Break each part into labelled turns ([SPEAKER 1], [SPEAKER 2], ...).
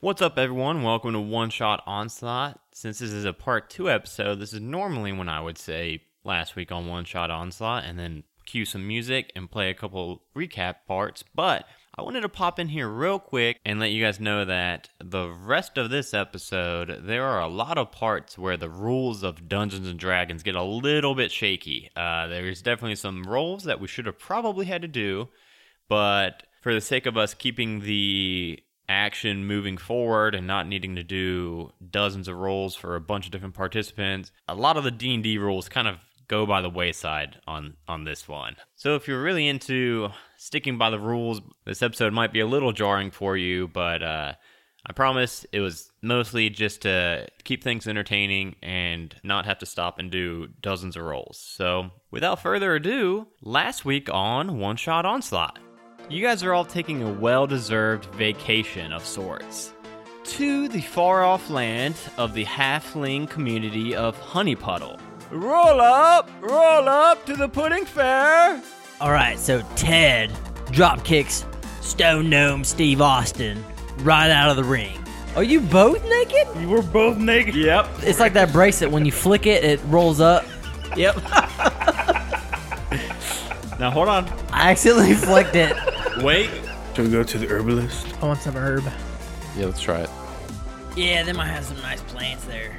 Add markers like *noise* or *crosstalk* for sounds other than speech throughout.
[SPEAKER 1] What's up, everyone? Welcome to One Shot Onslaught. Since this is a part two episode, this is normally when I would say last week on One Shot Onslaught and then cue some music and play a couple recap parts, but I wanted to pop in here real quick and let you guys know that the rest of this episode, there are a lot of parts where the rules of Dungeons and Dragons get a little bit shaky. Uh, there's definitely some roles that we should have probably had to do, but for the sake of us keeping the action moving forward and not needing to do dozens of roles for a bunch of different participants a lot of the d&d rules kind of go by the wayside on on this one so if you're really into sticking by the rules this episode might be a little jarring for you but uh I promise it was mostly just to keep things entertaining and not have to stop and do dozens of rolls. So, without further ado, last week on One Shot Onslaught, you guys are all taking a well deserved vacation of sorts to the far off land of the halfling community of Honeypuddle. Roll up! Roll up to the pudding fair!
[SPEAKER 2] All right, so Ted drop kicks Stone Gnome Steve Austin right out of the ring. Are you both naked?
[SPEAKER 3] You were both naked. Yep.
[SPEAKER 2] It's like that bracelet when you flick it, it rolls up. Yep,
[SPEAKER 1] Now hold on.
[SPEAKER 2] I accidentally *laughs* flicked it.
[SPEAKER 1] Wait.
[SPEAKER 3] Should we go to the herbalist?
[SPEAKER 4] I want some herb.
[SPEAKER 5] Yeah, let's try it.
[SPEAKER 2] Yeah, they might have some nice plants there.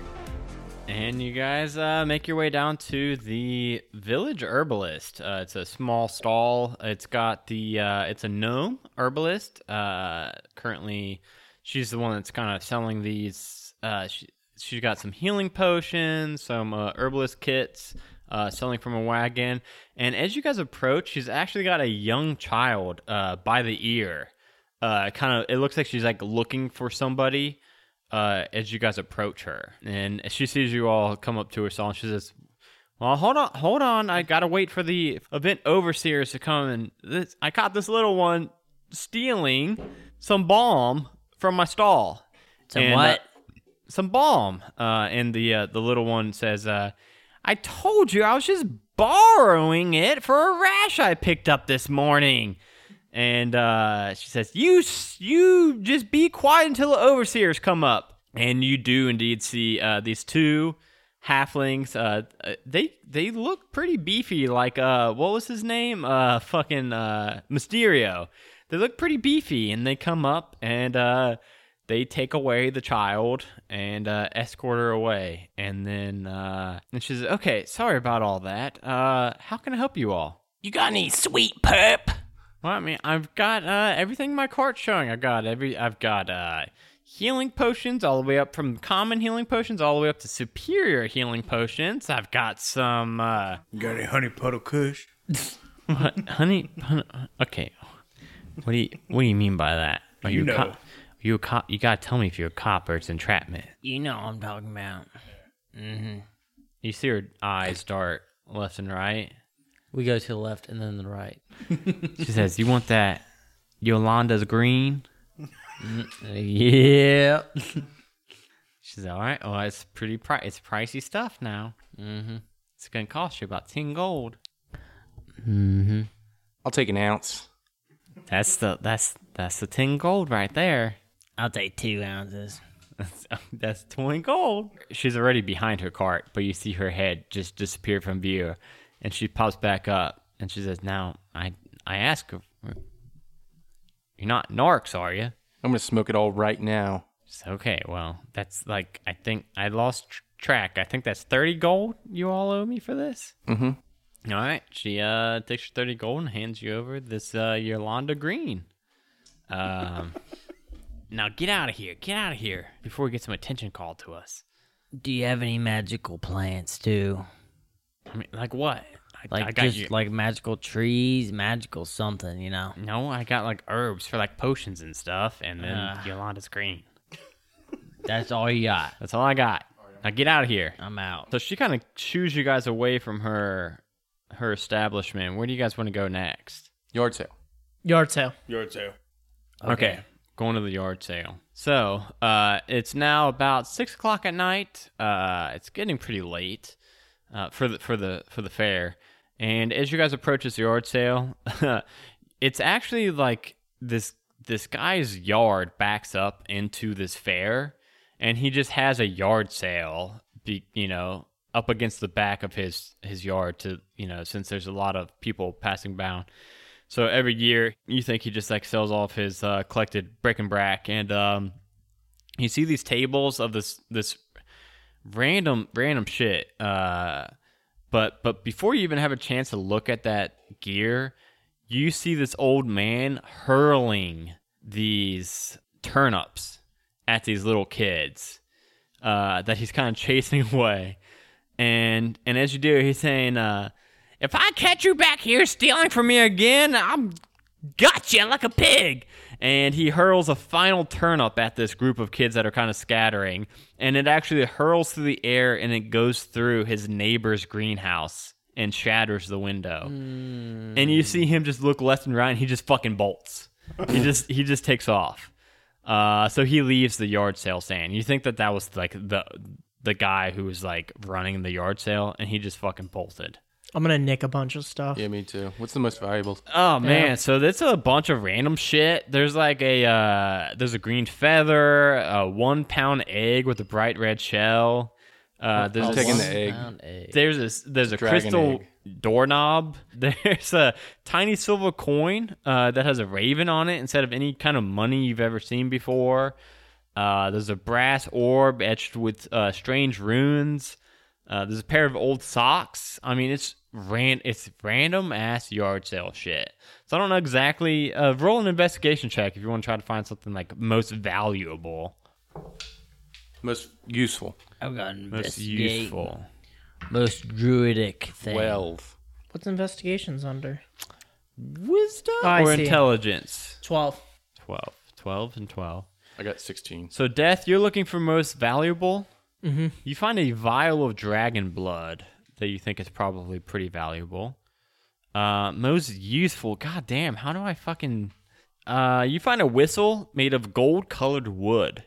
[SPEAKER 1] And you guys uh, make your way down to the village herbalist. Uh, it's a small stall. It's got the uh, it's a gnome herbalist. Uh, currently, she's the one that's kind of selling these. Uh, she, she's got some healing potions, some uh, herbalist kits, uh, selling from a wagon. And as you guys approach, she's actually got a young child uh, by the ear. Uh, kind of, it looks like she's like looking for somebody uh, as you guys approach her, and she sees you all come up to her stall, and she says, "Well, hold on, hold on. I gotta wait for the event overseers to come, and this, I caught this little one stealing some balm from my stall.
[SPEAKER 2] Some
[SPEAKER 1] And, uh,
[SPEAKER 2] what?
[SPEAKER 1] some balm." Uh, and the uh, the little one says, uh, "I told you I was just borrowing it for a rash I picked up this morning." and uh, she says, "You, s- you just be quiet until the overseers come up." And you do indeed see uh, these two halflings. Uh, uh, they they look pretty beefy. Like uh, what was his name? Uh, fucking uh, Mysterio. They look pretty beefy, and they come up and uh, they take away the child and uh, escort her away. And then uh, and she says, "Okay, sorry about all that. Uh, how can I help you all?"
[SPEAKER 2] You got any sweet perp?
[SPEAKER 1] Well, I mean, I've got uh, everything in my cart's showing. I've got every, I've got uh, healing potions all the way up from common healing potions all the way up to superior healing potions. I've got some uh,
[SPEAKER 3] You got any honey puddle kush?
[SPEAKER 1] *laughs* what, honey, honey. Okay, what do you what do you mean by that? Are you,
[SPEAKER 3] You
[SPEAKER 1] a
[SPEAKER 3] know.
[SPEAKER 1] cop? You a cop? You gotta tell me if you're a cop or it's entrapment.
[SPEAKER 2] You know what I'm talking about.
[SPEAKER 1] You see her eyes dart left and right.
[SPEAKER 2] We go to the left and then the right. *laughs*
[SPEAKER 1] She says, "You want that Yolanda's green?"
[SPEAKER 2] Yeah.
[SPEAKER 1] She's all right. Well, it's pretty pri- it's pricey stuff now. Mm-hmm. It's gonna cost you about ten gold.
[SPEAKER 5] I'll take an ounce.
[SPEAKER 1] That's the that's that's the ten gold right there. *laughs*
[SPEAKER 2] I'll take two ounces.
[SPEAKER 1] That's, that's twenty gold. She's already behind her cart, but you see her head just disappear from view, and she pops back up and she says, "Now I I ask her, you're not narcs, are you?"
[SPEAKER 5] I'm gonna smoke it all right now.
[SPEAKER 1] It's okay. Well, that's like I think I lost tr- track. I think that's thirty gold you all owe me for this. Mm-hmm. All right. She uh takes your thirty gold and hands you over this uh Yolanda Green. Um, *laughs* now get out of here. Get out of here before we get some attention called to us.
[SPEAKER 2] Do you have any magical plants too?
[SPEAKER 1] I mean, like what? I,
[SPEAKER 2] Like
[SPEAKER 1] I got
[SPEAKER 2] just
[SPEAKER 1] you.
[SPEAKER 2] like magical trees, magical something, you know?
[SPEAKER 1] no, I got like herbs for like potions and stuff, and then
[SPEAKER 2] Ah.
[SPEAKER 1] Yolanda's Green.
[SPEAKER 2] That's all you got.
[SPEAKER 1] That's all I got. Now get out of here.
[SPEAKER 2] I'm out.
[SPEAKER 1] So she kind of shoos you guys away from her her establishment. Where do you guys want to go next?
[SPEAKER 5] Yard sale.
[SPEAKER 4] Yard sale.
[SPEAKER 3] Your tail.
[SPEAKER 1] Okay. Going to the yard sale. So uh, it's now about six o'clock at night. Uh, it's getting pretty late uh, for the for the for the fair. *laughs* And as you guys approach this yard sale, it's actually like this this guy's yard backs up into this fair and he just has a yard sale be, you know up against the back of his his yard to you know since there's a lot of people passing by so every year you think he just like sells off his uh, collected brick and brack and um you see these tables of this this random random shit uh but but before you even have a chance to look at that gear, you see this old man hurling these turnips at these little kids uh, that he's kind of *laughs* chasing away. And and as you do, he's saying, uh, "If I catch you back here stealing from me again, I'm got you like a pig." And he hurls a final turnip at this group of kids that are kind of scattering, and it actually hurls through the air and it goes through his neighbor's greenhouse and shatters the window. And you see him just look left and right, and he just fucking bolts. he just he just takes off. Uh, so he leaves the yard sale saying, "You think that that was like the the guy who was like running the yard sale, and he just fucking bolted."
[SPEAKER 4] I'm gonna nick a bunch of stuff.
[SPEAKER 5] Yeah, me too. What's the most valuable?
[SPEAKER 1] Oh man, so that's a bunch of random shit. There's like a uh, there's a green feather, a one pound egg with a bright red shell. Uh, there's
[SPEAKER 5] I'm
[SPEAKER 1] this-
[SPEAKER 5] taking the egg.
[SPEAKER 1] there's a there's a
[SPEAKER 5] Dragon
[SPEAKER 1] crystal doorknob. *laughs* There's a tiny silver coin uh, that has a raven on it instead of any kind of money you've ever seen before. Uh, there's a brass orb etched with uh, strange runes. Uh, there's a pair of old socks. I mean, it's ran it's random ass yard sale shit. So I don't know exactly. Uh, roll an investigation check if you want to try to find something like most valuable,
[SPEAKER 5] Most useful.
[SPEAKER 2] I've got
[SPEAKER 1] most
[SPEAKER 2] investigate.
[SPEAKER 1] useful.
[SPEAKER 2] Most druidic thing.
[SPEAKER 5] Twelve.
[SPEAKER 4] What's investigations under?
[SPEAKER 1] Wisdom
[SPEAKER 4] Oh, I
[SPEAKER 1] or
[SPEAKER 4] see.
[SPEAKER 1] intelligence.
[SPEAKER 4] Twelve.
[SPEAKER 1] 12. 12 and 12.
[SPEAKER 5] I got sixteen.
[SPEAKER 1] So, Death, you're looking for most valuable. Mm-hmm. You find a vial of dragon blood that you think is probably pretty valuable. Uh, most useful. God damn, how do I fucking. Uh, you find a whistle made of gold colored wood.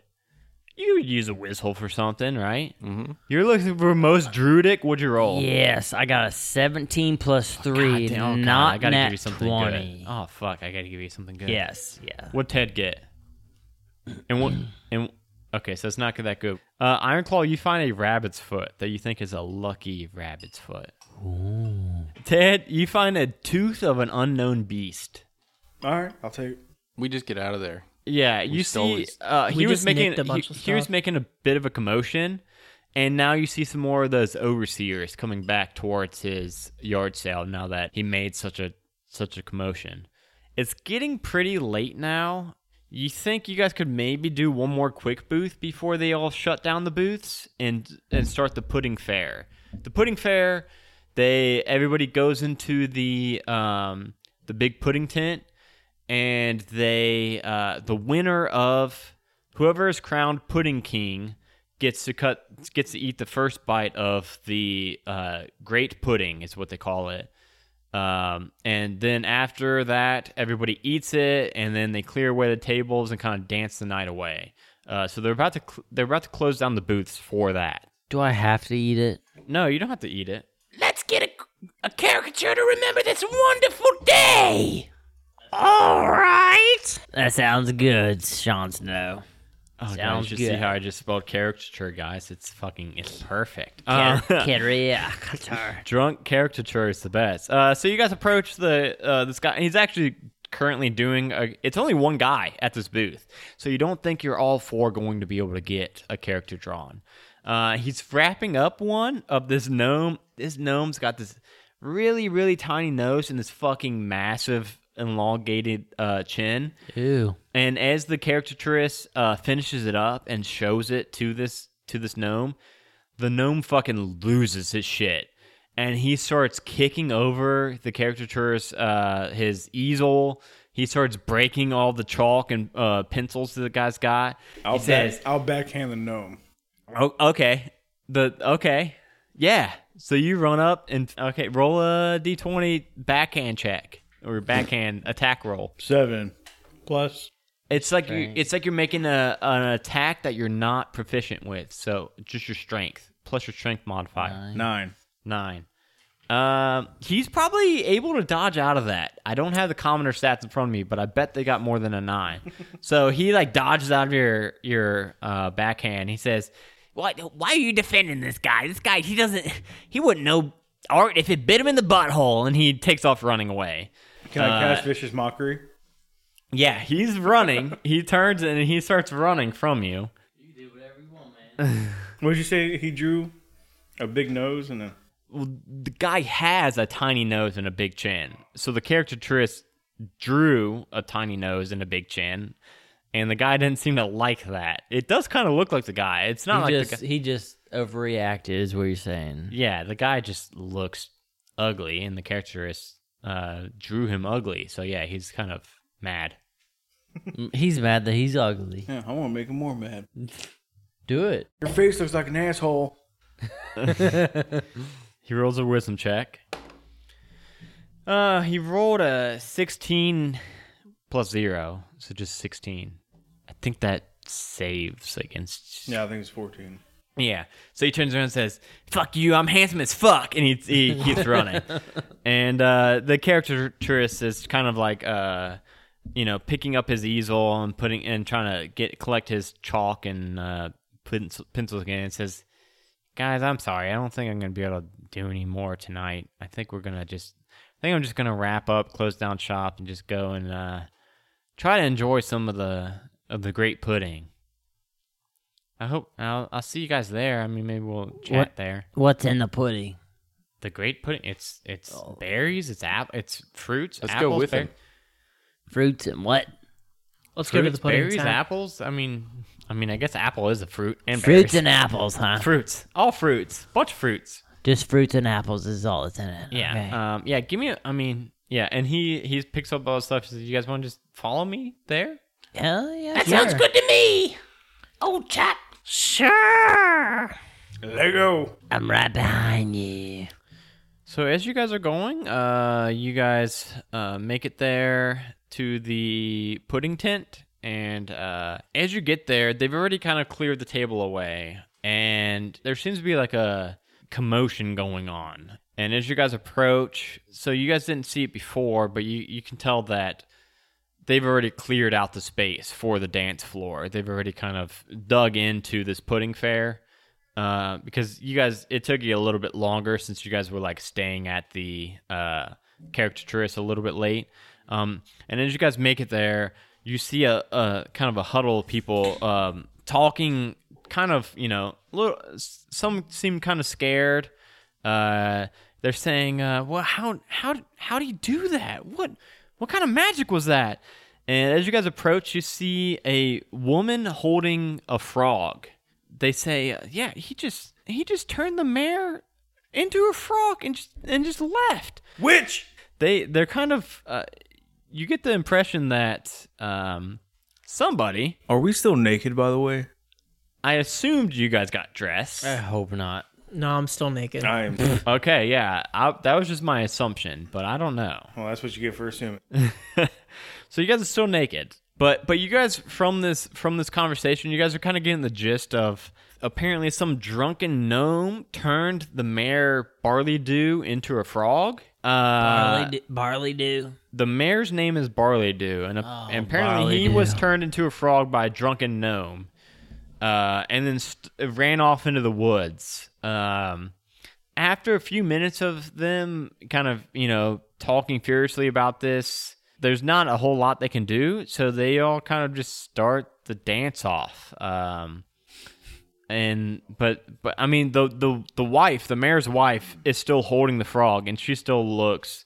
[SPEAKER 1] You would use a whistle for something, right? Mm-hmm. You're looking for most druidic. What'd you roll?
[SPEAKER 2] Yes, I got a 17 plus 3,
[SPEAKER 1] God damn, oh, God,
[SPEAKER 2] not
[SPEAKER 1] I gotta
[SPEAKER 2] nat
[SPEAKER 1] give you something
[SPEAKER 2] 20.
[SPEAKER 1] good. Oh fuck, I gotta give you something good.
[SPEAKER 2] Yes, yeah.
[SPEAKER 1] What Ted get? And what? And okay, so it's not that good. Uh, Iron Claw, you find a rabbit's foot that you think is a lucky rabbit's foot. Ted, you find a tooth of an unknown beast.
[SPEAKER 3] All right, I'll take it.
[SPEAKER 5] We just get out of there.
[SPEAKER 1] Yeah, you
[SPEAKER 5] stole
[SPEAKER 1] see,
[SPEAKER 5] his-
[SPEAKER 1] uh, he
[SPEAKER 4] We
[SPEAKER 1] was
[SPEAKER 4] just
[SPEAKER 1] making
[SPEAKER 4] nicked a bunch
[SPEAKER 1] he,
[SPEAKER 4] of
[SPEAKER 1] he was
[SPEAKER 4] stuff.
[SPEAKER 1] making a bit of a commotion, and now you see some more of those overseers coming back towards his yard sale. Now that he made such a such a commotion, it's getting pretty late now. You think you guys could maybe do one more quick booth before they all shut down the booths and and start the pudding fair? The pudding fair, they everybody goes into the um the big pudding tent and they uh, the winner of whoever is crowned pudding king gets to cut gets to eat the first bite of the uh, great pudding is what they call it um, and then after that everybody eats it and then they clear away the tables and kind of dance the night away uh, so they're about to cl- they're about to close down the booths for that
[SPEAKER 2] Do I have to eat it?
[SPEAKER 1] no you don't have to eat it
[SPEAKER 2] Let's get a, a caricature to remember this wonderful day! All right! That sounds good, Sean Snow.
[SPEAKER 1] oh God,
[SPEAKER 2] Sounds
[SPEAKER 1] you should see
[SPEAKER 2] good.
[SPEAKER 1] how i just spelled caricature guys it's fucking it's perfect
[SPEAKER 2] Car-
[SPEAKER 1] Uh,
[SPEAKER 2] *laughs* Caricature.
[SPEAKER 1] drunk caricature is the best. Uh, so you guys approach the uh, this guy. He's actually currently doing. A, it's only one guy at this booth, so you don't think you're all four going to be able to get a character drawn. Uh, he's wrapping up one of this gnome. This gnome's got this really really tiny nose and this fucking massive elongated uh, chin.
[SPEAKER 2] Ew.
[SPEAKER 1] And as the caricaturist uh, finishes it up and shows it to this to this gnome, the gnome fucking loses his shit, and he starts kicking over the caricaturist uh, his easel. He starts breaking all the chalk and uh, pencils that the guy's got.
[SPEAKER 3] I'll
[SPEAKER 1] he says,
[SPEAKER 3] back, I'll backhand the gnome.
[SPEAKER 1] "Oh, okay, the okay, yeah." So you run up and okay, roll a d twenty backhand check or backhand attack roll.
[SPEAKER 3] Seven plus.
[SPEAKER 1] It's like you, it's like you're making a an attack that you're not proficient with. So just your strength plus your strength modifier
[SPEAKER 3] Nine.
[SPEAKER 1] nine. Um, he's probably able to dodge out of that. I don't have the commoner stats in front of me, but I bet they got more than a nine. so he like dodges out of your your uh, backhand. He says,
[SPEAKER 2] Why, why are you defending this guy? This guy, he doesn't, he wouldn't know art if it bit him in the butthole.
[SPEAKER 1] and he takes off running away.
[SPEAKER 3] Can I cast vicious mockery?
[SPEAKER 1] Yeah, he's running. he turns and he starts running from you.
[SPEAKER 3] What did you say? He drew a big nose and a.
[SPEAKER 1] the guy has a tiny nose and a big chin. So the character Tris drew a tiny nose and a big chin, and the guy didn't seem to like that. It does kind of look like the guy. It's not
[SPEAKER 2] He
[SPEAKER 1] like
[SPEAKER 2] just,
[SPEAKER 1] the guy.
[SPEAKER 2] he just overreacted, is what you're saying.
[SPEAKER 1] Yeah, the guy just looks ugly, and the character is, uh, drew him ugly. So yeah, he's kind of mad.
[SPEAKER 2] He's mad that he's ugly.
[SPEAKER 3] Yeah, I want to make him more mad.
[SPEAKER 2] Do it.
[SPEAKER 3] Your face looks like an asshole.
[SPEAKER 1] He rolls a wisdom check. Uh, he rolled a 16 plus zero, so just 16. I think that saves against
[SPEAKER 3] Yeah, I think it's 14.
[SPEAKER 1] Yeah. So he turns around and says, "Fuck you, I'm handsome as fuck," and he, he keeps running. and uh, the character tourist is kind of like, uh, you know, picking up his easel and putting and trying to get collect his chalk and uh, pencil, pencils again. And says, "Guys, I'm sorry. I don't think I'm gonna be able to do any more tonight. I think we're gonna just. I think I'm just gonna wrap up, close down shop, and just go and uh, try to enjoy some of the of the great pudding." I hope I'll, I'll see you guys there. I mean, maybe we'll chat
[SPEAKER 2] What-
[SPEAKER 1] there.
[SPEAKER 2] What's in the pudding?
[SPEAKER 1] The great pudding. It's it's
[SPEAKER 4] Oh.
[SPEAKER 1] berries. It's app. It's fruits.
[SPEAKER 5] Let's go
[SPEAKER 1] apples,
[SPEAKER 5] with him.
[SPEAKER 2] Fruits and what?
[SPEAKER 4] Let's go to
[SPEAKER 1] Fruits,
[SPEAKER 4] the pudding
[SPEAKER 1] berries,
[SPEAKER 4] time.
[SPEAKER 1] apples. I mean, I mean, I guess apple is a fruit and
[SPEAKER 2] Fruits
[SPEAKER 1] berries.
[SPEAKER 2] and apples, huh?
[SPEAKER 1] fruits. All fruits. Bunch of fruits.
[SPEAKER 2] Just fruits and apples is all that's in it.
[SPEAKER 1] Yeah.
[SPEAKER 2] Okay.
[SPEAKER 1] Um. Yeah. Give me. A, I mean. Yeah. And he he picks up all his stuff. Says, "You guys want to just follow me there?"
[SPEAKER 2] Hell yeah. That
[SPEAKER 4] sounds
[SPEAKER 2] good to me.
[SPEAKER 4] Oh, chat.
[SPEAKER 2] Sure.
[SPEAKER 3] Lego!
[SPEAKER 2] I'm right behind you.
[SPEAKER 1] So as you guys are going, uh, you guys uh, make it there to the pudding tent, and uh, as you get there, they've already kind of cleared the table away, and there seems to be like a commotion going on. And as you guys approach, so you guys didn't see it before, but you, you can tell that they've already cleared out the space for the dance floor. They've already kind of dug into this pudding fair uh, because you guys it took you a little bit longer since you guys were like staying at the uh, character tourist a little bit late. Um, and as you guys make it there, you see a, a kind of a huddle of people um, talking, kind of you know, little, some seem kind of scared. Uh, they're saying, uh, "Well, how how how do you do that? What what kind of magic was that?" And as you guys approach, you see a woman holding a frog. They say, uh, "Yeah, he just he just turned the mare into a frog and just, and just left."
[SPEAKER 3] Witch!
[SPEAKER 1] They they're kind of uh, you get the impression that um, somebody.
[SPEAKER 3] Are we still naked, by the way?
[SPEAKER 1] I assumed you guys got dressed.
[SPEAKER 2] I hope not.
[SPEAKER 4] No, I'm still naked.
[SPEAKER 3] I *laughs* am.
[SPEAKER 1] *laughs* Okay, yeah, I, that was just my assumption, but I don't know.
[SPEAKER 3] Well, that's what you get for assuming.
[SPEAKER 1] So you guys are still naked, but but you guys from this from this conversation, you guys are kind of getting the gist of apparently some drunken gnome turned the mayor Barley Dew into a frog. Uh,
[SPEAKER 2] barley, do, barley do.
[SPEAKER 1] the mayor's name is Barley Dew, and, a- and apparently
[SPEAKER 2] Oh, Barley
[SPEAKER 1] he
[SPEAKER 2] Dew.
[SPEAKER 1] was turned into a frog by a drunken gnome, uh, and then st- ran off into the woods. Um, after a few minutes of them kind of you know talking furiously about this, there's not a whole lot they can do, so they all kind of just start the dance off. Um, and but but I mean the the the wife, the mayor's wife, is still holding the frog, and she still looks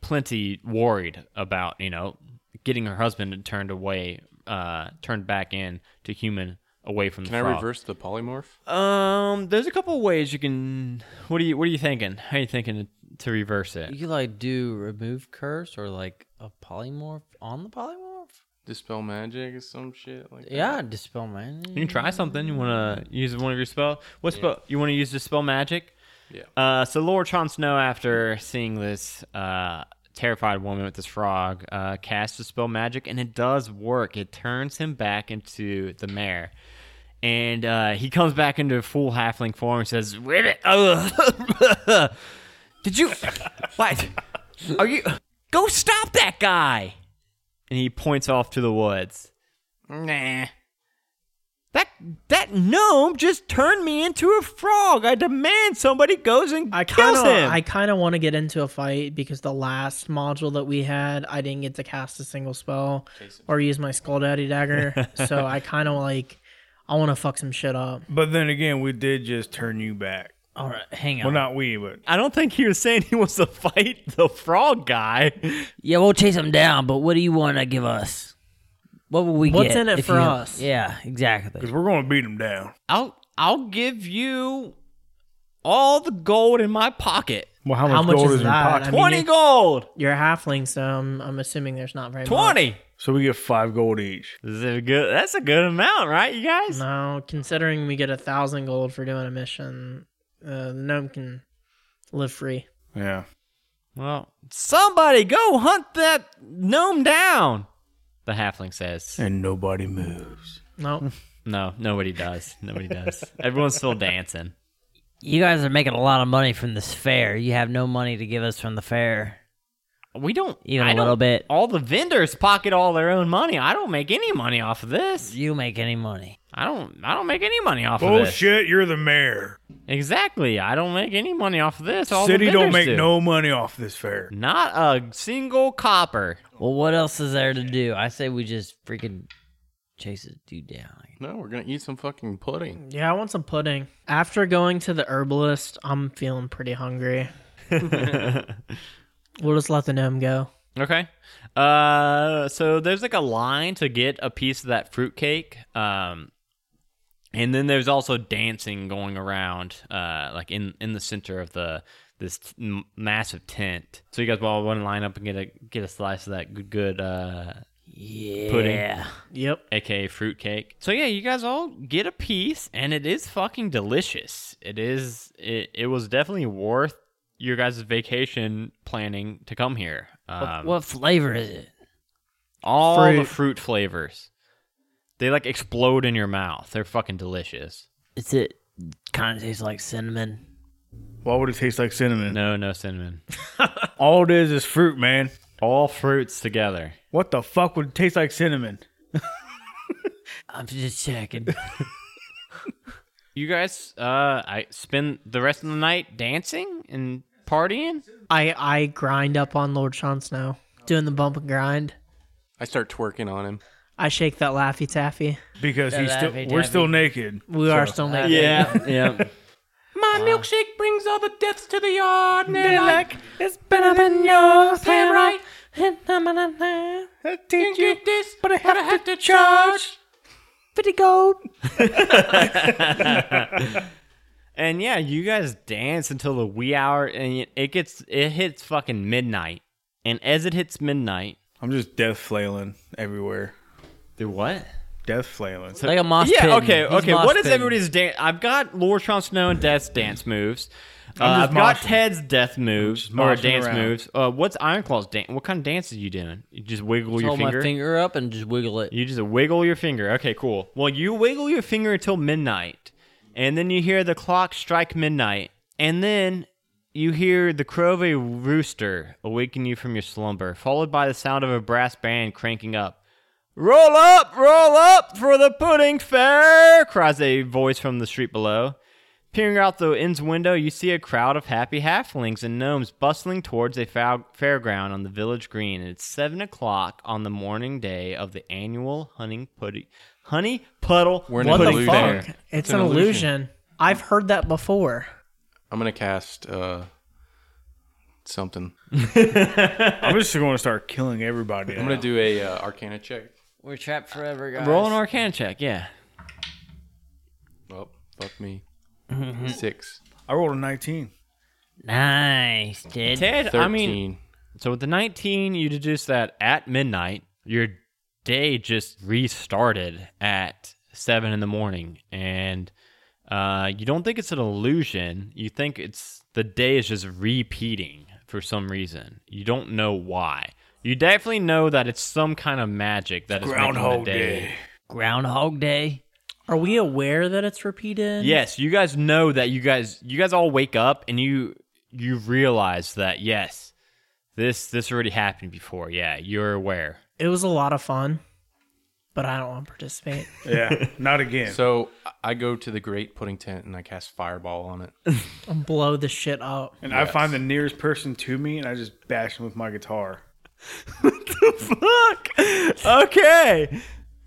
[SPEAKER 1] plenty worried about you know getting her husband turned away, uh, turned back in to human away from the
[SPEAKER 5] Can I
[SPEAKER 1] frog.
[SPEAKER 5] reverse the polymorph?
[SPEAKER 1] Um, there's a couple ways you can. What are you What are you thinking? How are you thinking to, to reverse
[SPEAKER 2] You
[SPEAKER 1] it?
[SPEAKER 2] could like do remove curse or like a polymorph on the polymorph.
[SPEAKER 5] Dispel magic or some shit like that?
[SPEAKER 2] Yeah, dispel man.
[SPEAKER 1] You can try something. You want to use one of your spell? What spell? You want to use the spell magic?
[SPEAKER 5] Yeah.
[SPEAKER 1] Uh, so Laura Tron Snow, after seeing this uh, terrified woman with this frog, uh, casts a spell magic, and it does work. It turns him back into the mare, and *laughs* uh, he comes back into full halfling form and says, "Ribbit,
[SPEAKER 2] Did you? what? Are you? Go stop that guy!
[SPEAKER 1] And he points off to the woods.
[SPEAKER 5] Nah.
[SPEAKER 2] That that gnome just turned me into a frog. I demand somebody goes and
[SPEAKER 4] I kind
[SPEAKER 2] kills
[SPEAKER 4] of
[SPEAKER 2] him.
[SPEAKER 4] I kind of want to get into a fight because the last module that we had, I didn't get to cast a single spell or use my Skull Daddy
[SPEAKER 3] *laughs*
[SPEAKER 4] dagger. so I kind of like I want to fuck some shit up.
[SPEAKER 3] But then again, we did just turn you back.
[SPEAKER 2] All right, hang on.
[SPEAKER 3] Well, not we, but
[SPEAKER 1] I don't think he was saying he wants to fight the frog guy.
[SPEAKER 2] yeah, we'll chase him down. But what do you want to give us? What will we
[SPEAKER 4] What's
[SPEAKER 2] get?
[SPEAKER 4] in it
[SPEAKER 2] if
[SPEAKER 4] for
[SPEAKER 2] you-
[SPEAKER 4] us?
[SPEAKER 2] Yeah, exactly.
[SPEAKER 3] because we're gonna beat him down.
[SPEAKER 1] I'll I'll give you all the gold in my pocket.
[SPEAKER 3] Well, how much,
[SPEAKER 4] How much
[SPEAKER 3] gold
[SPEAKER 4] is
[SPEAKER 3] is, in
[SPEAKER 4] that?
[SPEAKER 3] pocket?
[SPEAKER 4] I mean,
[SPEAKER 1] Twenty
[SPEAKER 4] you-
[SPEAKER 1] gold.
[SPEAKER 4] You're a halfling, so I'm, I'm assuming there's not very much.
[SPEAKER 1] Twenty.
[SPEAKER 3] so we get five gold each.
[SPEAKER 1] This is a good. That's a good amount, right, you guys?
[SPEAKER 4] No, considering we get a thousand gold for doing a mission, uh, the gnome can live free.
[SPEAKER 3] Yeah.
[SPEAKER 1] Well, somebody go hunt that gnome down. The halfling says,
[SPEAKER 3] And nobody moves.
[SPEAKER 4] No,
[SPEAKER 1] "No, nobody does. Nobody *laughs* does. Everyone's still dancing."
[SPEAKER 2] You guys are making a lot of money from this fair. You have no money to give us from the fair.
[SPEAKER 1] We don't
[SPEAKER 2] Even
[SPEAKER 1] I
[SPEAKER 2] a little
[SPEAKER 1] don't-
[SPEAKER 2] bit.
[SPEAKER 1] All the vendors pocket all their own money. I don't make any money off of this.
[SPEAKER 2] You make any money?
[SPEAKER 1] I don't. I don't make any money off of this.
[SPEAKER 3] Bullshit! You're the mayor.
[SPEAKER 1] Exactly. I don't make any money off of this. All the
[SPEAKER 3] City don't
[SPEAKER 1] vendors
[SPEAKER 3] make
[SPEAKER 1] do.
[SPEAKER 3] no money off this fair.
[SPEAKER 1] Not a single copper.
[SPEAKER 2] Well, what else is there to do? I say we just freaking chase this dude down.
[SPEAKER 5] No, we're gonna eat some fucking pudding.
[SPEAKER 4] yeah, I want some pudding. After going to the herbalist, I'm feeling pretty hungry. we'll just let the gnome go.
[SPEAKER 1] Okay. Uh, so there's like a line to get a piece of that fruitcake. Um, and then there's also dancing going around, uh, like in in the center of the this t- m- massive tent. So you guys all want to line up and get a get a slice of that good good uh,
[SPEAKER 2] Yeah.
[SPEAKER 4] Yep.
[SPEAKER 1] aka fruitcake. So yeah, you guys all get a piece, and it is fucking delicious. It is. It, it was definitely worth your guys' vacation planning to come here. Um,
[SPEAKER 2] what flavor is it?
[SPEAKER 1] all the
[SPEAKER 4] Fruit.
[SPEAKER 1] fruit flavors, they like explode in your mouth. They're fucking delicious.
[SPEAKER 2] Is it kind of tastes like cinnamon?
[SPEAKER 3] Why would it taste like cinnamon?
[SPEAKER 1] No, no cinnamon.
[SPEAKER 3] All it is is fruit, man.
[SPEAKER 1] All fruits together.
[SPEAKER 3] What the fuck would it taste like cinnamon?
[SPEAKER 2] I'm just checking.
[SPEAKER 1] You guys, uh, I spend the rest of the night dancing and partying.
[SPEAKER 4] I I grind up on Lord Sean Snow, doing the bump and grind.
[SPEAKER 5] I start twerking on him.
[SPEAKER 4] I shake that laffy taffy.
[SPEAKER 3] Because he's still,
[SPEAKER 2] Laffy
[SPEAKER 3] we're
[SPEAKER 2] Taffy.
[SPEAKER 3] still naked.
[SPEAKER 4] We are still
[SPEAKER 5] *laughs*
[SPEAKER 4] naked.
[SPEAKER 1] Yeah, yeah.
[SPEAKER 5] My milkshake brings all the deaths to the yard. Like
[SPEAKER 2] it's better than yours,
[SPEAKER 5] damn right.
[SPEAKER 3] Teach you
[SPEAKER 5] this, but I have, to charge.
[SPEAKER 2] Pretty gold.
[SPEAKER 1] *laughs* And yeah, you guys dance until the wee hour, and it- it gets it hits fucking midnight. And as it hits midnight,
[SPEAKER 3] I'm just death flailing everywhere.
[SPEAKER 1] do what?
[SPEAKER 3] Death flailing.
[SPEAKER 2] Like a moss
[SPEAKER 1] yeah,
[SPEAKER 2] pit.
[SPEAKER 1] okay,
[SPEAKER 2] He's
[SPEAKER 1] okay.
[SPEAKER 2] moss
[SPEAKER 1] What is
[SPEAKER 2] pitting.
[SPEAKER 1] everybody's dance? I've got Lord Sean Snow and Death's dance moves. Uh,
[SPEAKER 3] I'm just
[SPEAKER 1] I've got
[SPEAKER 3] moshing.
[SPEAKER 1] Ted's death moves
[SPEAKER 3] just
[SPEAKER 1] or
[SPEAKER 3] moshing
[SPEAKER 1] dance
[SPEAKER 3] around.
[SPEAKER 1] moves. Uh, what's Ironclaw's dance? What kind of dance is you doing? You just wiggle your
[SPEAKER 2] Hold
[SPEAKER 1] finger.
[SPEAKER 2] my finger up and just wiggle it.
[SPEAKER 1] You just wiggle your finger. Okay, cool. Well, you wiggle your finger until midnight, and then you hear the clock strike midnight, and then you hear the crow of a rooster awaken you from your slumber, followed by the sound of a brass band cranking up. Roll up, roll up for the pudding fair, cries a voice from the street below. Peering out the inn's window, you see a crowd of happy halflings and gnomes bustling towards a fa- fairground on the village green. It's seven o'clock on the morning day of the annual hunting putty, honey puddle.
[SPEAKER 5] We're in
[SPEAKER 1] what
[SPEAKER 5] a
[SPEAKER 1] the
[SPEAKER 5] blue
[SPEAKER 1] fuck?
[SPEAKER 5] bear.
[SPEAKER 4] It's, an, illusion. I've heard that before.
[SPEAKER 5] I'm gonna cast uh something.
[SPEAKER 3] I'm just going to start killing everybody.
[SPEAKER 5] I'm gonna do a uh, Arcana check.
[SPEAKER 2] We're trapped forever, guys.
[SPEAKER 1] Roll an Arcana check. Yeah,
[SPEAKER 5] Oh, fuck me.
[SPEAKER 1] Mm-hmm.
[SPEAKER 5] Six.
[SPEAKER 3] I rolled a 19.
[SPEAKER 2] Nice, Ted.
[SPEAKER 1] Ted.
[SPEAKER 5] Thirteen.
[SPEAKER 1] I mean, So with the 19, you deduce that at midnight, your day just restarted at 7 in the morning. And uh, you don't think it's an illusion. You think it's the day is just repeating for some reason. You don't know why. You definitely know that it's some kind of magic that is making
[SPEAKER 3] Groundhog
[SPEAKER 1] the
[SPEAKER 3] Day.
[SPEAKER 2] Groundhog Day.
[SPEAKER 4] Are we aware that it's repeated?
[SPEAKER 1] Yes, you guys know that you guys you guys all wake up and you you realize that yes, this this already happened before. Yeah, you're aware.
[SPEAKER 4] It was a lot of fun, but I don't want to participate.
[SPEAKER 3] Yeah, *laughs* not again.
[SPEAKER 5] So I- I go to the great pudding tent and I cast fireball on it.
[SPEAKER 4] and blow the shit up.
[SPEAKER 3] and I find the nearest person to me, and I just bash them with my guitar.
[SPEAKER 1] Fuck. Okay.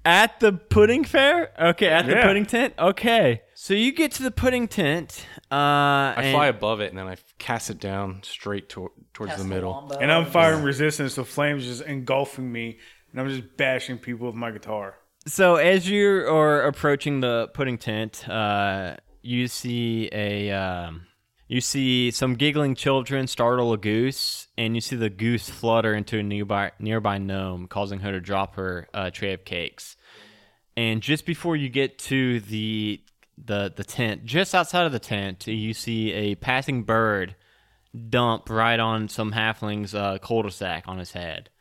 [SPEAKER 1] At the pudding fair? Okay, at the
[SPEAKER 3] Yeah.
[SPEAKER 1] pudding tent? Okay. So you get to the pudding tent. Uh,
[SPEAKER 5] I fly above it and then I cast it down straight to- towards the middle.
[SPEAKER 1] Oh,
[SPEAKER 3] And I'm firing resistance, the flames just engulfing me, and I'm just bashing people with my guitar.
[SPEAKER 1] So as you are approaching the pudding tent, uh, you see a um, you see some giggling children startle a goose, and you see the goose flutter into a nearby nearby gnome, causing her to drop her uh, tray of cakes. And just before you get to the the the tent, just outside of the tent, you see a passing bird dump right on some halfling's uh, cul-de-sac on his head.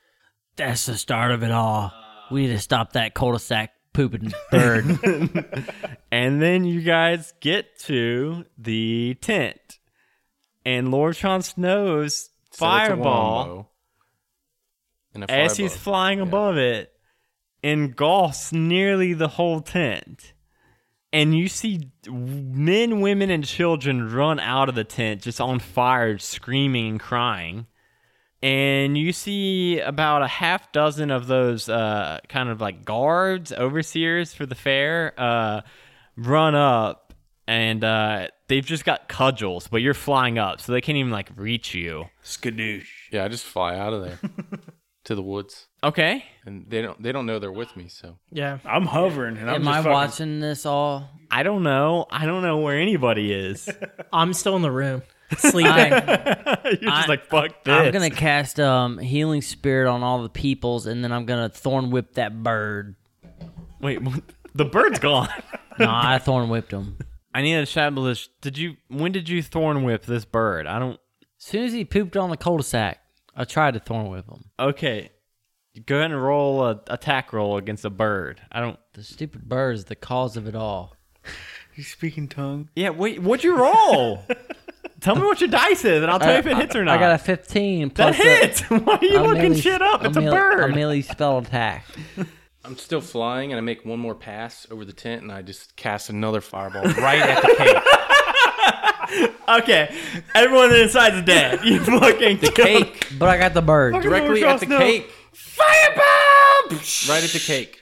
[SPEAKER 2] That's the start of it all. We need to stop that cul-de-sac pooping bird.
[SPEAKER 1] And then you guys get to the tent. And Lord Sean Snow's
[SPEAKER 5] So it's a
[SPEAKER 1] fireball,
[SPEAKER 5] wombo. And I fly
[SPEAKER 1] as he's
[SPEAKER 5] above.
[SPEAKER 1] flying above it, engulfs nearly the whole tent. And you see men, women, and children run out of the tent just on fire, screaming and crying. And you see about a half dozen of those uh, kind of like guards, overseers for the fair, uh, run up and uh, they've just got cudgels, but you're flying up, so they can't even like reach you.
[SPEAKER 3] Skadoosh.
[SPEAKER 5] Yeah, I just fly out
[SPEAKER 1] *laughs*
[SPEAKER 5] of there to the woods,
[SPEAKER 1] Okay.
[SPEAKER 5] and they don't they don't know they're with me. So
[SPEAKER 4] Yeah.
[SPEAKER 3] I'm hovering, and I'm
[SPEAKER 2] Am
[SPEAKER 3] just
[SPEAKER 2] I
[SPEAKER 3] fucking-
[SPEAKER 2] watching this all?
[SPEAKER 1] I don't know. I don't know where anybody is.
[SPEAKER 4] I'm still in the room sleeping.
[SPEAKER 1] *laughs* You're
[SPEAKER 2] I-
[SPEAKER 1] just like, fuck this.
[SPEAKER 2] I'm gonna cast um healing spirit on all the peoples, and then I'm gonna thorn whip that bird.
[SPEAKER 1] Wait, what? the bird's gone.
[SPEAKER 2] No, I thorn whipped him.
[SPEAKER 1] *laughs* I need to establish. Did you? When did you thorn whip this bird? I don't.
[SPEAKER 2] As soon as he pooped on the cul-de-sac, I tried to thorn whip him.
[SPEAKER 1] Okay. Go ahead and roll a attack roll against a bird. I don't.
[SPEAKER 2] The stupid bird is the cause of it all.
[SPEAKER 3] You speaking tongue?
[SPEAKER 1] Yeah. Wait. What'd you roll? *laughs* Tell me what your dice is, and I'll tell you if it hits or not.
[SPEAKER 2] I got a 15
[SPEAKER 1] that
[SPEAKER 2] plus.
[SPEAKER 1] hits. *laughs* Why are you
[SPEAKER 2] a- a
[SPEAKER 1] looking
[SPEAKER 2] melee-
[SPEAKER 1] shit up? It's a
[SPEAKER 2] melee- A
[SPEAKER 1] bird.
[SPEAKER 2] melee
[SPEAKER 1] *laughs*
[SPEAKER 2] spell attack.
[SPEAKER 5] I'm still flying, and I make one more pass over the tent, and I just cast
[SPEAKER 1] *laughs*
[SPEAKER 5] another fireball right at the cake.
[SPEAKER 1] Okay. Everyone inside's
[SPEAKER 2] *laughs*
[SPEAKER 1] dead. You fucking the *laughs*
[SPEAKER 5] Cake
[SPEAKER 2] But I got the bird.
[SPEAKER 5] directly at the
[SPEAKER 3] No.
[SPEAKER 5] cake,
[SPEAKER 1] Firebomb!
[SPEAKER 5] right at the cake,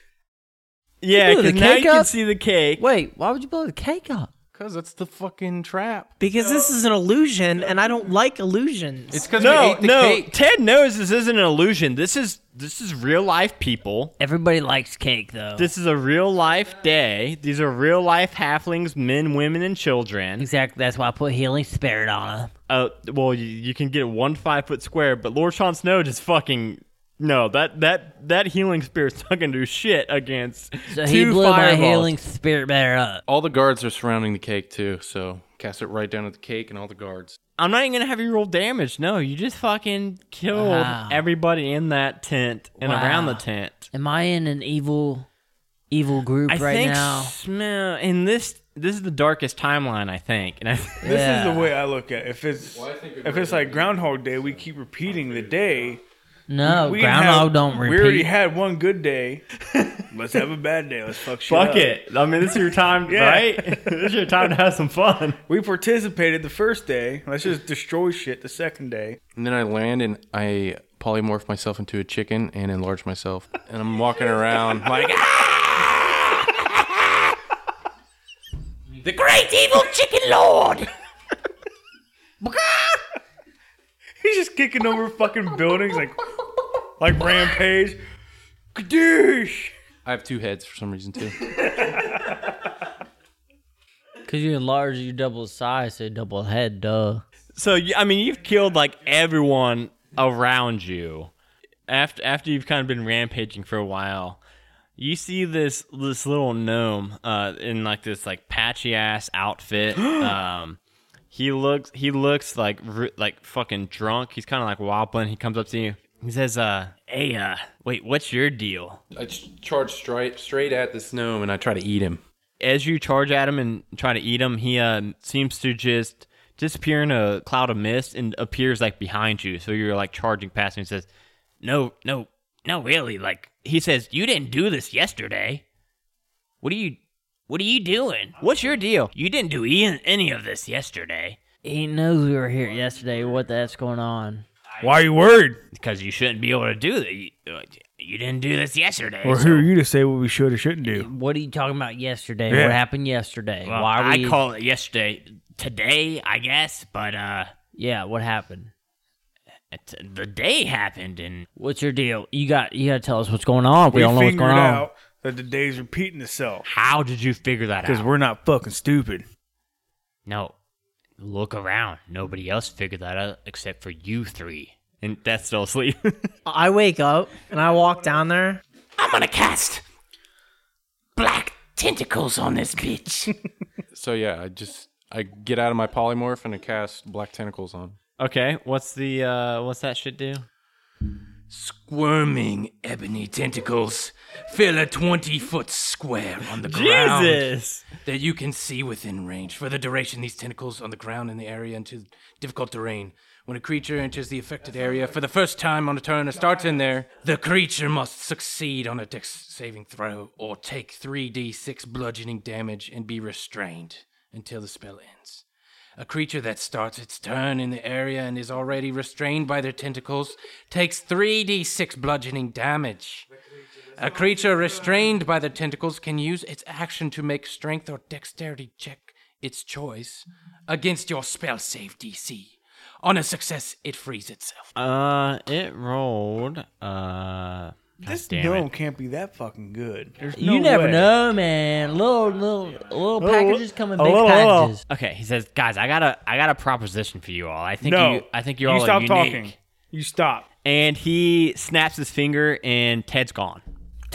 [SPEAKER 1] Yeah,
[SPEAKER 2] Ooh, the
[SPEAKER 1] because now
[SPEAKER 2] cake
[SPEAKER 1] you can
[SPEAKER 2] up?
[SPEAKER 1] see the cake.
[SPEAKER 2] Wait, why would you blow the cake up?
[SPEAKER 5] cause that's the fucking trap.
[SPEAKER 4] because this is an illusion and I don't like illusions.
[SPEAKER 5] It's cause we
[SPEAKER 1] No,
[SPEAKER 5] ate the
[SPEAKER 1] no.
[SPEAKER 5] cake.
[SPEAKER 1] Ted knows this isn't an illusion. This is this is real life people.
[SPEAKER 2] Everybody likes cake, though.
[SPEAKER 1] This is a real life day. These are real life halflings, men, women, and children.
[SPEAKER 2] exactly. That's why I put healing spirit on him.
[SPEAKER 1] Uh, well, you, you can get one five foot square, but Lord Sean Snow just fucking no. That that that healing spirit's not gonna do shit against
[SPEAKER 2] So
[SPEAKER 1] two
[SPEAKER 2] he blew
[SPEAKER 1] fireballs.
[SPEAKER 2] my healing spirit better up.
[SPEAKER 5] All the guards are surrounding the cake too, so cast it right down at the cake and all the guards.
[SPEAKER 1] I'm not even gonna have you roll damage. No, you just fucking killed
[SPEAKER 2] Wow.
[SPEAKER 1] everybody in that tent and
[SPEAKER 2] Wow.
[SPEAKER 1] around the tent.
[SPEAKER 2] Am I in an evil, evil group
[SPEAKER 1] I
[SPEAKER 2] right
[SPEAKER 1] think
[SPEAKER 2] now?
[SPEAKER 1] sm- in this this is the darkest timeline I think, and I
[SPEAKER 3] This
[SPEAKER 2] yeah.
[SPEAKER 3] is the way I look at it. If it's
[SPEAKER 5] Well, I think we're
[SPEAKER 3] if it's like Groundhog Day, we keep repeating the day.
[SPEAKER 2] no,
[SPEAKER 3] We
[SPEAKER 2] groundhog
[SPEAKER 3] have-
[SPEAKER 2] don't
[SPEAKER 3] We already
[SPEAKER 2] repeat.
[SPEAKER 3] had one good *laughs* day. Let's have a bad day. Let's fuck shit
[SPEAKER 1] *laughs* fuck
[SPEAKER 3] up.
[SPEAKER 1] it. I mean, this is your time,
[SPEAKER 3] Yeah.
[SPEAKER 1] right? *laughs* this is your time to have some fun.
[SPEAKER 3] We participated the first day. Let's just destroy shit the second day.
[SPEAKER 5] And then I land and I polymorph myself into a chicken and enlarge myself. And I'm walking *laughs* around like, "Ah!"
[SPEAKER 2] the great evil chicken lord.
[SPEAKER 3] He's just kicking over fucking buildings like like rampage. Kadoosh.
[SPEAKER 5] I have two heads for some reason too.
[SPEAKER 2] Cause you enlarge, you double the size, so you double the head. Duh.
[SPEAKER 1] So you- I mean, you've killed like everyone around you. After after you've kind of been rampaging for a while, you see this this little gnome uh, in like this like patchy ass outfit. um, he looks he looks like r- like fucking drunk. He's kind of like wobbling. He comes up to you. He says, "Uh, hey, uh, wait, what's your deal?"
[SPEAKER 5] I ch- charge straight straight at this gnome and I try to eat him.
[SPEAKER 1] as you charge at him and try to eat him, he uh, seems to just disappear in a cloud of mist and appears like behind you. So you're like charging past him and says, No, no, no, really. Like he says, You didn't do this yesterday. What are you what are you doing? What's your deal? You didn't do e- any of this yesterday.
[SPEAKER 2] He knows we were here yesterday. What the heck's going on?
[SPEAKER 3] Why are you worried?
[SPEAKER 1] Because you shouldn't be able to do that. You, uh, you didn't do this yesterday.
[SPEAKER 3] Or
[SPEAKER 1] so
[SPEAKER 3] who are you to say what we should or shouldn't do?
[SPEAKER 2] What are you talking about yesterday?
[SPEAKER 3] Yeah.
[SPEAKER 2] What happened yesterday?
[SPEAKER 1] Well,
[SPEAKER 2] Why were
[SPEAKER 1] I
[SPEAKER 2] you...
[SPEAKER 1] call it yesterday, today, I guess, but uh,
[SPEAKER 2] Yeah, what happened?
[SPEAKER 1] it's, the day happened and
[SPEAKER 2] What's your deal? You got you got to tell us what's going on. We,
[SPEAKER 3] We
[SPEAKER 2] don't know what's
[SPEAKER 3] figured
[SPEAKER 2] going on.
[SPEAKER 3] out that the day's repeating itself
[SPEAKER 1] how did you figure that
[SPEAKER 3] because
[SPEAKER 1] out?
[SPEAKER 3] we're not fucking stupid.
[SPEAKER 1] No, look around. Nobody else figured that out except for you three. And that's still asleep.
[SPEAKER 4] I wake up and I walk down there.
[SPEAKER 2] *laughs* I'm gonna cast black tentacles on this bitch.
[SPEAKER 5] So yeah, I just I get out of my polymorph and I cast black tentacles on.
[SPEAKER 1] okay, what's the uh what's that shit do?
[SPEAKER 6] Squirming ebony tentacles fill a 20 foot square on the ground
[SPEAKER 1] Jesus.
[SPEAKER 6] that you can see within range. For the duration, these tentacles on the ground in the area into difficult terrain. When a creature enters the affected area for the first time on a turn or starts in there, the creature must succeed on a dex saving throw or take 3d6 bludgeoning damage and be restrained until the spell ends. A creature that starts its turn in the area and is already restrained by their tentacles takes 3d6 bludgeoning damage. A creature restrained by the tentacles can use its action to make strength or dexterity check its choice against your spell save DC. On a success, it frees itself.
[SPEAKER 1] Uh it rolled uh
[SPEAKER 3] This
[SPEAKER 1] damn it.
[SPEAKER 3] gnome can't be that fucking good. There's
[SPEAKER 2] you
[SPEAKER 3] no
[SPEAKER 2] never
[SPEAKER 3] way.
[SPEAKER 2] know, man. Little little little packages come in
[SPEAKER 3] a
[SPEAKER 2] big
[SPEAKER 3] little-
[SPEAKER 2] packages.
[SPEAKER 1] Okay, he says, "Guys, I got a I got a proposition for you all. I think
[SPEAKER 3] No,
[SPEAKER 1] you I think you all are
[SPEAKER 3] stop
[SPEAKER 1] unique."
[SPEAKER 3] talking. You stop.
[SPEAKER 1] And he snaps his finger and Ted's gone.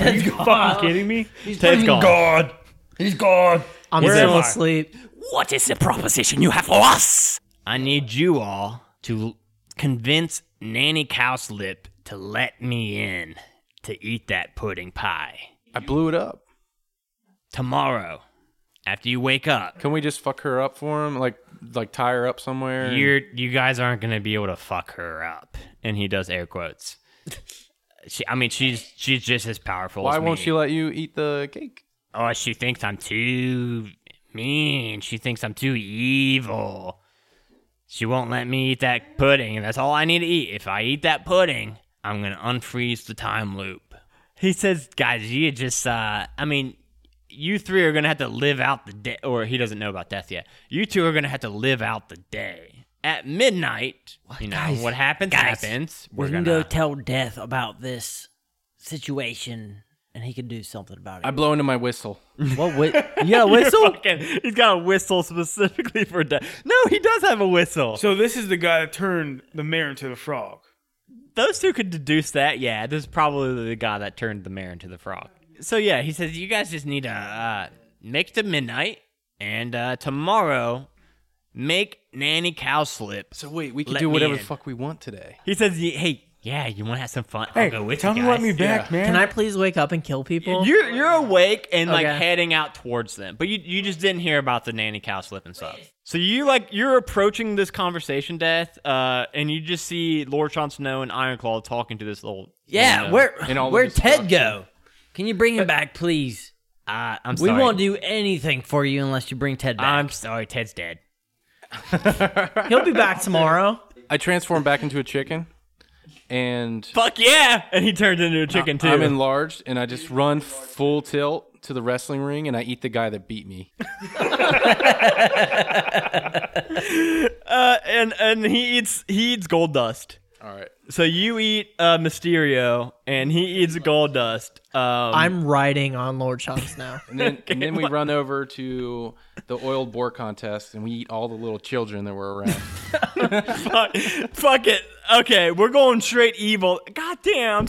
[SPEAKER 3] Are you fucking kidding me?
[SPEAKER 1] Ted's gone.
[SPEAKER 3] God, he's gone.
[SPEAKER 4] I'm
[SPEAKER 3] Where
[SPEAKER 4] still
[SPEAKER 3] am I?
[SPEAKER 4] asleep.
[SPEAKER 2] What is the proposition you have for us?
[SPEAKER 1] I need you all to convince Nanny Cowslip to let me in to eat that pudding pie
[SPEAKER 5] I blew it up.
[SPEAKER 1] tomorrow after you wake up.
[SPEAKER 5] Can we just fuck her up for him? Like like tie her up somewhere? and-
[SPEAKER 1] You're you guys aren't gonna be able to fuck her up. And he does air *laughs* quotes. she, I mean, she's she's just as powerful.
[SPEAKER 5] Why
[SPEAKER 1] as
[SPEAKER 5] won't
[SPEAKER 1] me.
[SPEAKER 5] she let you eat the cake?
[SPEAKER 1] Oh, she thinks I'm too mean. She thinks I'm too evil. She won't let me eat that pudding, and that's all I need to eat. If I eat that pudding, I'm gonna unfreeze the time loop. He says, "Guys, you just, uh, I mean, you three are gonna have to live out the day." Or he doesn't know about death yet. You two are gonna have to live out the day at midnight. you know
[SPEAKER 2] guys,
[SPEAKER 1] what happens
[SPEAKER 2] guys,
[SPEAKER 1] happens.
[SPEAKER 2] We
[SPEAKER 1] We're
[SPEAKER 2] can
[SPEAKER 1] gonna
[SPEAKER 2] go tell Death about this situation, and he can do something about
[SPEAKER 5] I
[SPEAKER 2] it.
[SPEAKER 5] blow into my whistle.
[SPEAKER 2] what? Wait, you got a whistle?
[SPEAKER 1] Fucking- he's got a whistle specifically for death. No, he does have a whistle.
[SPEAKER 3] So this is the guy that turned the mayor into the frog.
[SPEAKER 1] those two could deduce that. Yeah, this is probably the guy that turned the mare into the frog. So yeah, he says you guys just need to uh, make it to midnight, and uh, tomorrow make nanny cowslip.
[SPEAKER 5] So wait, we can
[SPEAKER 1] Let
[SPEAKER 5] do
[SPEAKER 1] me
[SPEAKER 5] whatever
[SPEAKER 1] in.
[SPEAKER 5] the fuck we want today.
[SPEAKER 1] He says, y- "Hey, yeah, you want to have some fun? I'll go with
[SPEAKER 3] tell
[SPEAKER 1] you
[SPEAKER 3] me let
[SPEAKER 1] guys."
[SPEAKER 3] me back, man.
[SPEAKER 4] Can I please wake up and kill people?
[SPEAKER 1] You're you're awake and like
[SPEAKER 4] Okay.
[SPEAKER 1] heading out towards them, but you you just didn't hear about the nanny cow slip and stuff. So you like you're approaching this conversation, death, uh, and you just see Lord Sean Snow and Ironclaw talking to this little
[SPEAKER 2] Yeah,
[SPEAKER 1] little gnome.
[SPEAKER 2] where
[SPEAKER 5] And all the
[SPEAKER 2] where Ted go? Can you bring him back, please?
[SPEAKER 1] Uh, I'm
[SPEAKER 2] We
[SPEAKER 1] sorry.
[SPEAKER 2] won't do anything for you unless you bring Ted back.
[SPEAKER 1] I'm sorry, Ted's dead.
[SPEAKER 4] He'll
[SPEAKER 3] *laughs*
[SPEAKER 4] be back tomorrow.
[SPEAKER 5] I transform back into a chicken and
[SPEAKER 1] Fuck yeah! And he turns into a chicken too.
[SPEAKER 5] I'm enlarged and I just run full tilt to the wrestling ring and I eat the guy that beat me.
[SPEAKER 1] uh, and and he eats he eats gold dust.
[SPEAKER 5] All right.
[SPEAKER 1] So you eat uh, Mysterio, and he eats gold dust. Um,
[SPEAKER 4] I'm riding on Lord Chunks now.
[SPEAKER 5] And then, and then we run over to the oiled boar contest and we eat all the little children that were around.
[SPEAKER 1] fuck, *laughs* fuck it. Okay, we're going straight evil. God damn.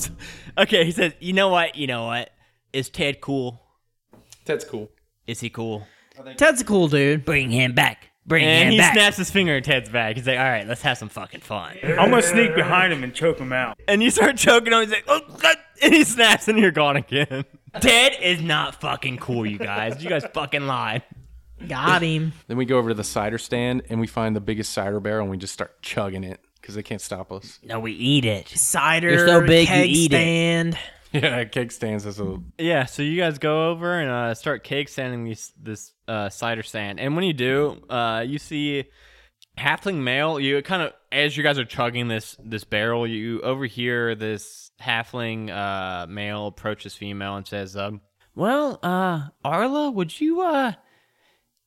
[SPEAKER 1] Okay, he says, you know what? You know what? Is Ted cool?
[SPEAKER 5] Ted's cool.
[SPEAKER 1] Is he cool?
[SPEAKER 4] Ted's a cool dude.
[SPEAKER 2] bring him back. Bring
[SPEAKER 1] And
[SPEAKER 2] him
[SPEAKER 1] he
[SPEAKER 2] back.
[SPEAKER 1] snaps his finger at Ted's back. He's like, all right, let's have some fucking fun.
[SPEAKER 3] I'm gonna sneak behind him and choke him out.
[SPEAKER 1] And you start choking him. He's like, oh, God. And he snaps, and you're gone again. Ted is not fucking cool, you guys. You guys fucking lied.
[SPEAKER 4] Got him.
[SPEAKER 5] Then we go over to the cider stand and we find the biggest cider barrel and we just start chugging it because they can't stop us.
[SPEAKER 2] No, we eat it.
[SPEAKER 4] Cider.
[SPEAKER 2] You're so big, you
[SPEAKER 4] keg
[SPEAKER 2] eat it.
[SPEAKER 4] stand.
[SPEAKER 5] *laughs* Yeah, keg stands as a
[SPEAKER 1] Yeah, so you guys go over and uh, start cake standing these, this uh, cider stand, and when you do, uh, you see halfling male. You kind of as you guys are chugging this this barrel, you overhear this halfling uh, male approach this female and says, um, "Well, uh, Arla, would you uh,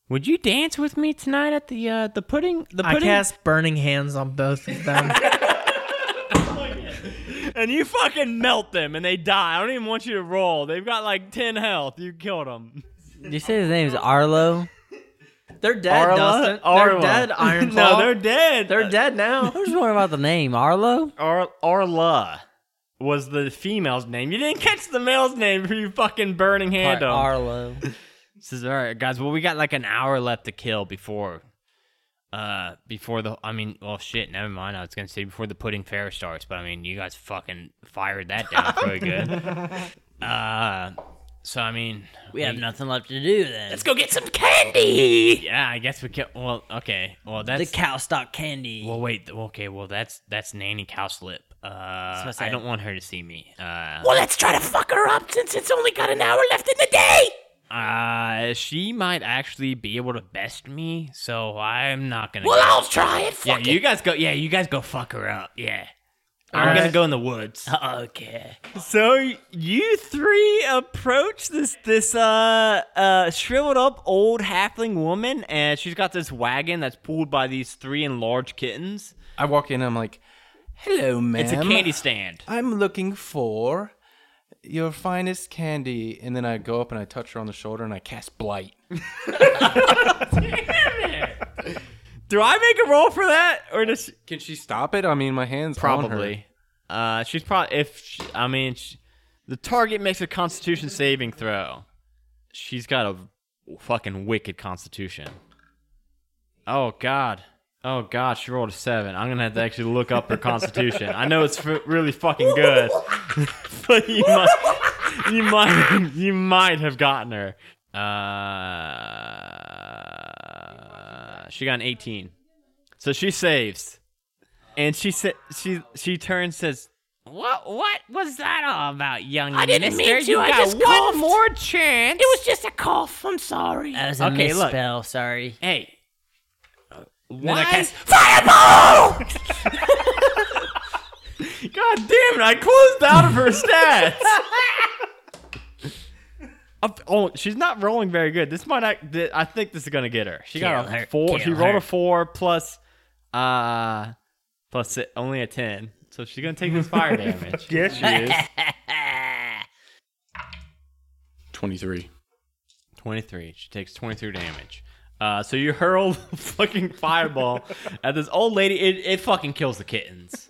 [SPEAKER 1] would you dance with me tonight at the uh, the pudding the
[SPEAKER 4] I
[SPEAKER 1] pudding?"
[SPEAKER 4] cast burning hands on both
[SPEAKER 2] *laughs*
[SPEAKER 4] of them.
[SPEAKER 1] and you fucking melt them, and they die. I don't even want you to roll. They've got like ten health. You killed them.
[SPEAKER 2] Did you say his name's Arlo?
[SPEAKER 4] They're dead, Dustin. They're *laughs* dead, Iron Claw.
[SPEAKER 1] no, they're dead.
[SPEAKER 4] They're dead now. *laughs*
[SPEAKER 2] I was wondering about the name Arlo.
[SPEAKER 1] Ar- Arla was the female's name. You didn't catch the male's name for you fucking burning hand on.
[SPEAKER 2] Arlo.
[SPEAKER 1] Says, all right, guys. Well, we got like an hour left to kill before, uh, before the. I mean, well, shit. Never mind. I was gonna say before the pudding fair starts, but I mean, you guys fucking fired that down pretty good. Uh, so I mean,
[SPEAKER 2] We have nothing left to do then. Let's
[SPEAKER 1] go get some candy. Yeah, I guess we can. Well, okay. Well,
[SPEAKER 2] The
[SPEAKER 1] that's
[SPEAKER 2] cow stock candy.
[SPEAKER 1] Well, wait. th- Okay. Well, that's that's Nanny Cowslip. Uh, I,
[SPEAKER 2] That's what I said.
[SPEAKER 1] don't want her to see me. Uh,
[SPEAKER 2] well, let's try to fuck her up since it's only got an hour left in the day.
[SPEAKER 1] uh, she might actually be able to best me, so I'm not gonna.
[SPEAKER 2] Well,
[SPEAKER 1] go-
[SPEAKER 2] I'll try it.
[SPEAKER 1] yeah,
[SPEAKER 2] Fuck
[SPEAKER 1] you guys go. Yeah, you guys go fuck her up. Yeah. I'm
[SPEAKER 4] Alright.
[SPEAKER 1] gonna go in the woods.
[SPEAKER 2] yeah. Uh, Okay.
[SPEAKER 1] So you three approach this this uh uh shriveled up old halfling woman, and she's got this wagon that's pulled by these three enlarged kittens.
[SPEAKER 5] I walk in, I'm like, hello, ma'am.
[SPEAKER 1] It's a candy stand.
[SPEAKER 5] I'm looking for your finest candy. And then I go up and I touch her on the shoulder and I cast blight.
[SPEAKER 1] Do I make a roll for that, or does?
[SPEAKER 5] Can she stop it? I mean, my hands on her.
[SPEAKER 1] Probably. Uh, she's probably if sh I mean, sh the target makes a Constitution saving throw. She's got a fucking wicked Constitution. Oh God. Oh God, she rolled a seven. I'm gonna have to actually look up her Constitution. I know it's f- really fucking good, *laughs* but *laughs* you might, you *laughs* might, you might have gotten her. Uh, she got an 18, so she saves. And she said she she turns says, "What what was that all about, young I didn't mister? Mean to. You I got one more chance. It was just
[SPEAKER 2] That was a
[SPEAKER 1] Okay, look.
[SPEAKER 2] misspell. Sorry.
[SPEAKER 1] hey." Why?
[SPEAKER 2] cast
[SPEAKER 1] fireball! *laughs* God damn it! I closed out of her stats. *laughs* Of- oh, she's not rolling very good. This might act, th- I think this is gonna get her. She got a
[SPEAKER 2] Kill her,
[SPEAKER 1] four. she
[SPEAKER 2] kill
[SPEAKER 1] rolled
[SPEAKER 2] her.
[SPEAKER 1] a four plus, uh, plus si- only a ten. So she's gonna take this *laughs* fire damage.
[SPEAKER 3] Yes, she is.
[SPEAKER 2] Ah,
[SPEAKER 5] 23.
[SPEAKER 1] 23. She takes 23 damage. Uh, so you *laughs* hurl the fucking fireball at this old lady. It, it fucking kills the kittens.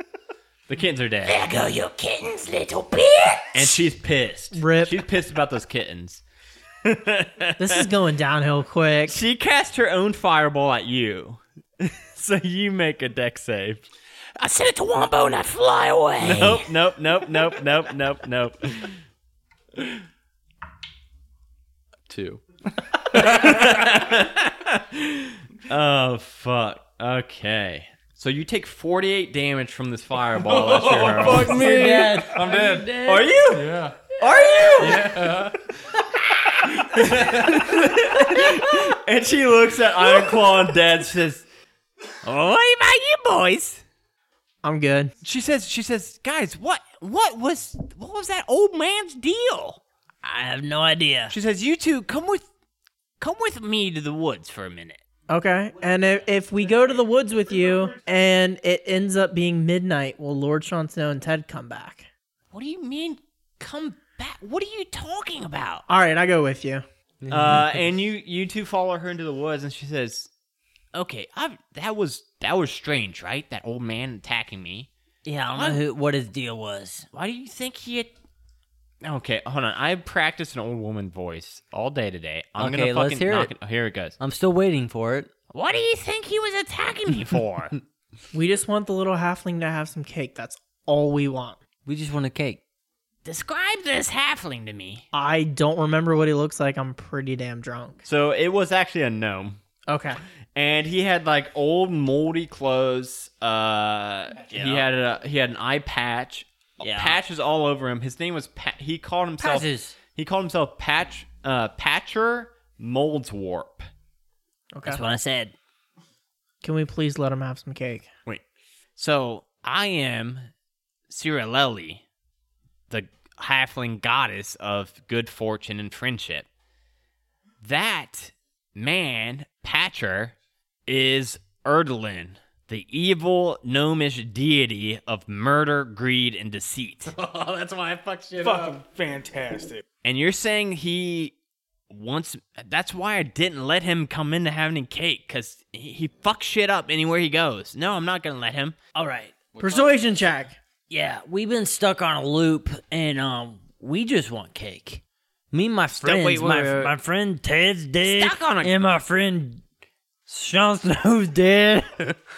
[SPEAKER 1] The kittens are dead. There go your kittens, little bitch. And she's pissed.
[SPEAKER 4] Rip.
[SPEAKER 1] She's pissed about those kittens.
[SPEAKER 4] This is going downhill quick.
[SPEAKER 1] She cast her own fireball at you. *laughs* so you make a deck save.
[SPEAKER 2] I send it to Wombo and I fly away.
[SPEAKER 1] Nope, nope, nope, nope, nope, nope, nope.
[SPEAKER 5] Two.
[SPEAKER 1] *laughs* Oh fuck. Okay. So you take 48 damage from this fireball. that you
[SPEAKER 2] *laughs*
[SPEAKER 1] hurl.
[SPEAKER 5] Fuck me. I'm dead.
[SPEAKER 1] Are you?
[SPEAKER 5] Yeah.
[SPEAKER 1] Are you? and she looks at Iron Claw and Dad says, "Oh, What about you boys?
[SPEAKER 4] I'm good.
[SPEAKER 1] She says, she says, guys, what what was what was that old man's deal?
[SPEAKER 2] I have no idea.
[SPEAKER 1] She says, You two come with come with me to the woods for a minute.
[SPEAKER 4] Okay. And if, if we go to the woods with you and it ends up being midnight, will Lord Sean Snow and Ted come back?
[SPEAKER 1] What do you mean come back? What are you talking about?
[SPEAKER 4] All right, I go with you.
[SPEAKER 1] *laughs* uh, and you you two follow her into the woods, and she says, "Okay, I, that was that was strange, right? That old man attacking me.
[SPEAKER 2] Yeah, I don't know who, what his deal was.
[SPEAKER 1] Why do you think he?" Had... Okay, hold on. I practiced an old woman voice all day today. I'm
[SPEAKER 2] Okay,
[SPEAKER 1] gonna
[SPEAKER 2] let's
[SPEAKER 1] fucking
[SPEAKER 2] hear
[SPEAKER 1] knock it.
[SPEAKER 2] it.
[SPEAKER 1] oh, Here it goes.
[SPEAKER 2] I'm still waiting for it.
[SPEAKER 1] What do you think he was attacking *laughs* me for?
[SPEAKER 4] We just want the little halfling to have some cake. That's all we want.
[SPEAKER 2] We just want a cake. Describe this halfling to me.
[SPEAKER 4] I don't remember what he looks like. I'm pretty damn drunk.
[SPEAKER 1] So it was actually a gnome.
[SPEAKER 4] Okay.
[SPEAKER 1] and he had like old moldy clothes. Uh, he had a he had an eye patch,
[SPEAKER 2] Yeah.
[SPEAKER 1] patches all over him. His name was pa- he called himself
[SPEAKER 2] Patches.
[SPEAKER 1] he called himself Patch uh, Patcher Moldswarp.
[SPEAKER 4] Okay.
[SPEAKER 2] That's what I said.
[SPEAKER 4] Can we please let him have some cake?
[SPEAKER 1] Wait,
[SPEAKER 2] So I am
[SPEAKER 1] Cirilleli, the halfling goddess of good fortune and friendship. That man, Patcher, is Erdlin, the evil gnomish deity of murder, greed, and deceit.
[SPEAKER 3] Fucking fantastic.
[SPEAKER 1] and you're saying he wants. That's why I didn't let him come into having cake, because he, he fucks shit up anywhere he goes. No, I'm not going to let him.
[SPEAKER 2] all right.
[SPEAKER 4] Persuasion check.
[SPEAKER 2] Yeah, we've been stuck on a loop, and um, we just want cake. Me and my friends,
[SPEAKER 1] wait, wait,
[SPEAKER 2] my,
[SPEAKER 1] wait, wait.
[SPEAKER 2] my friend Ted's dead,
[SPEAKER 1] Stuck on a-
[SPEAKER 2] and my friend Sean
[SPEAKER 1] *laughs*
[SPEAKER 2] Snow's dead.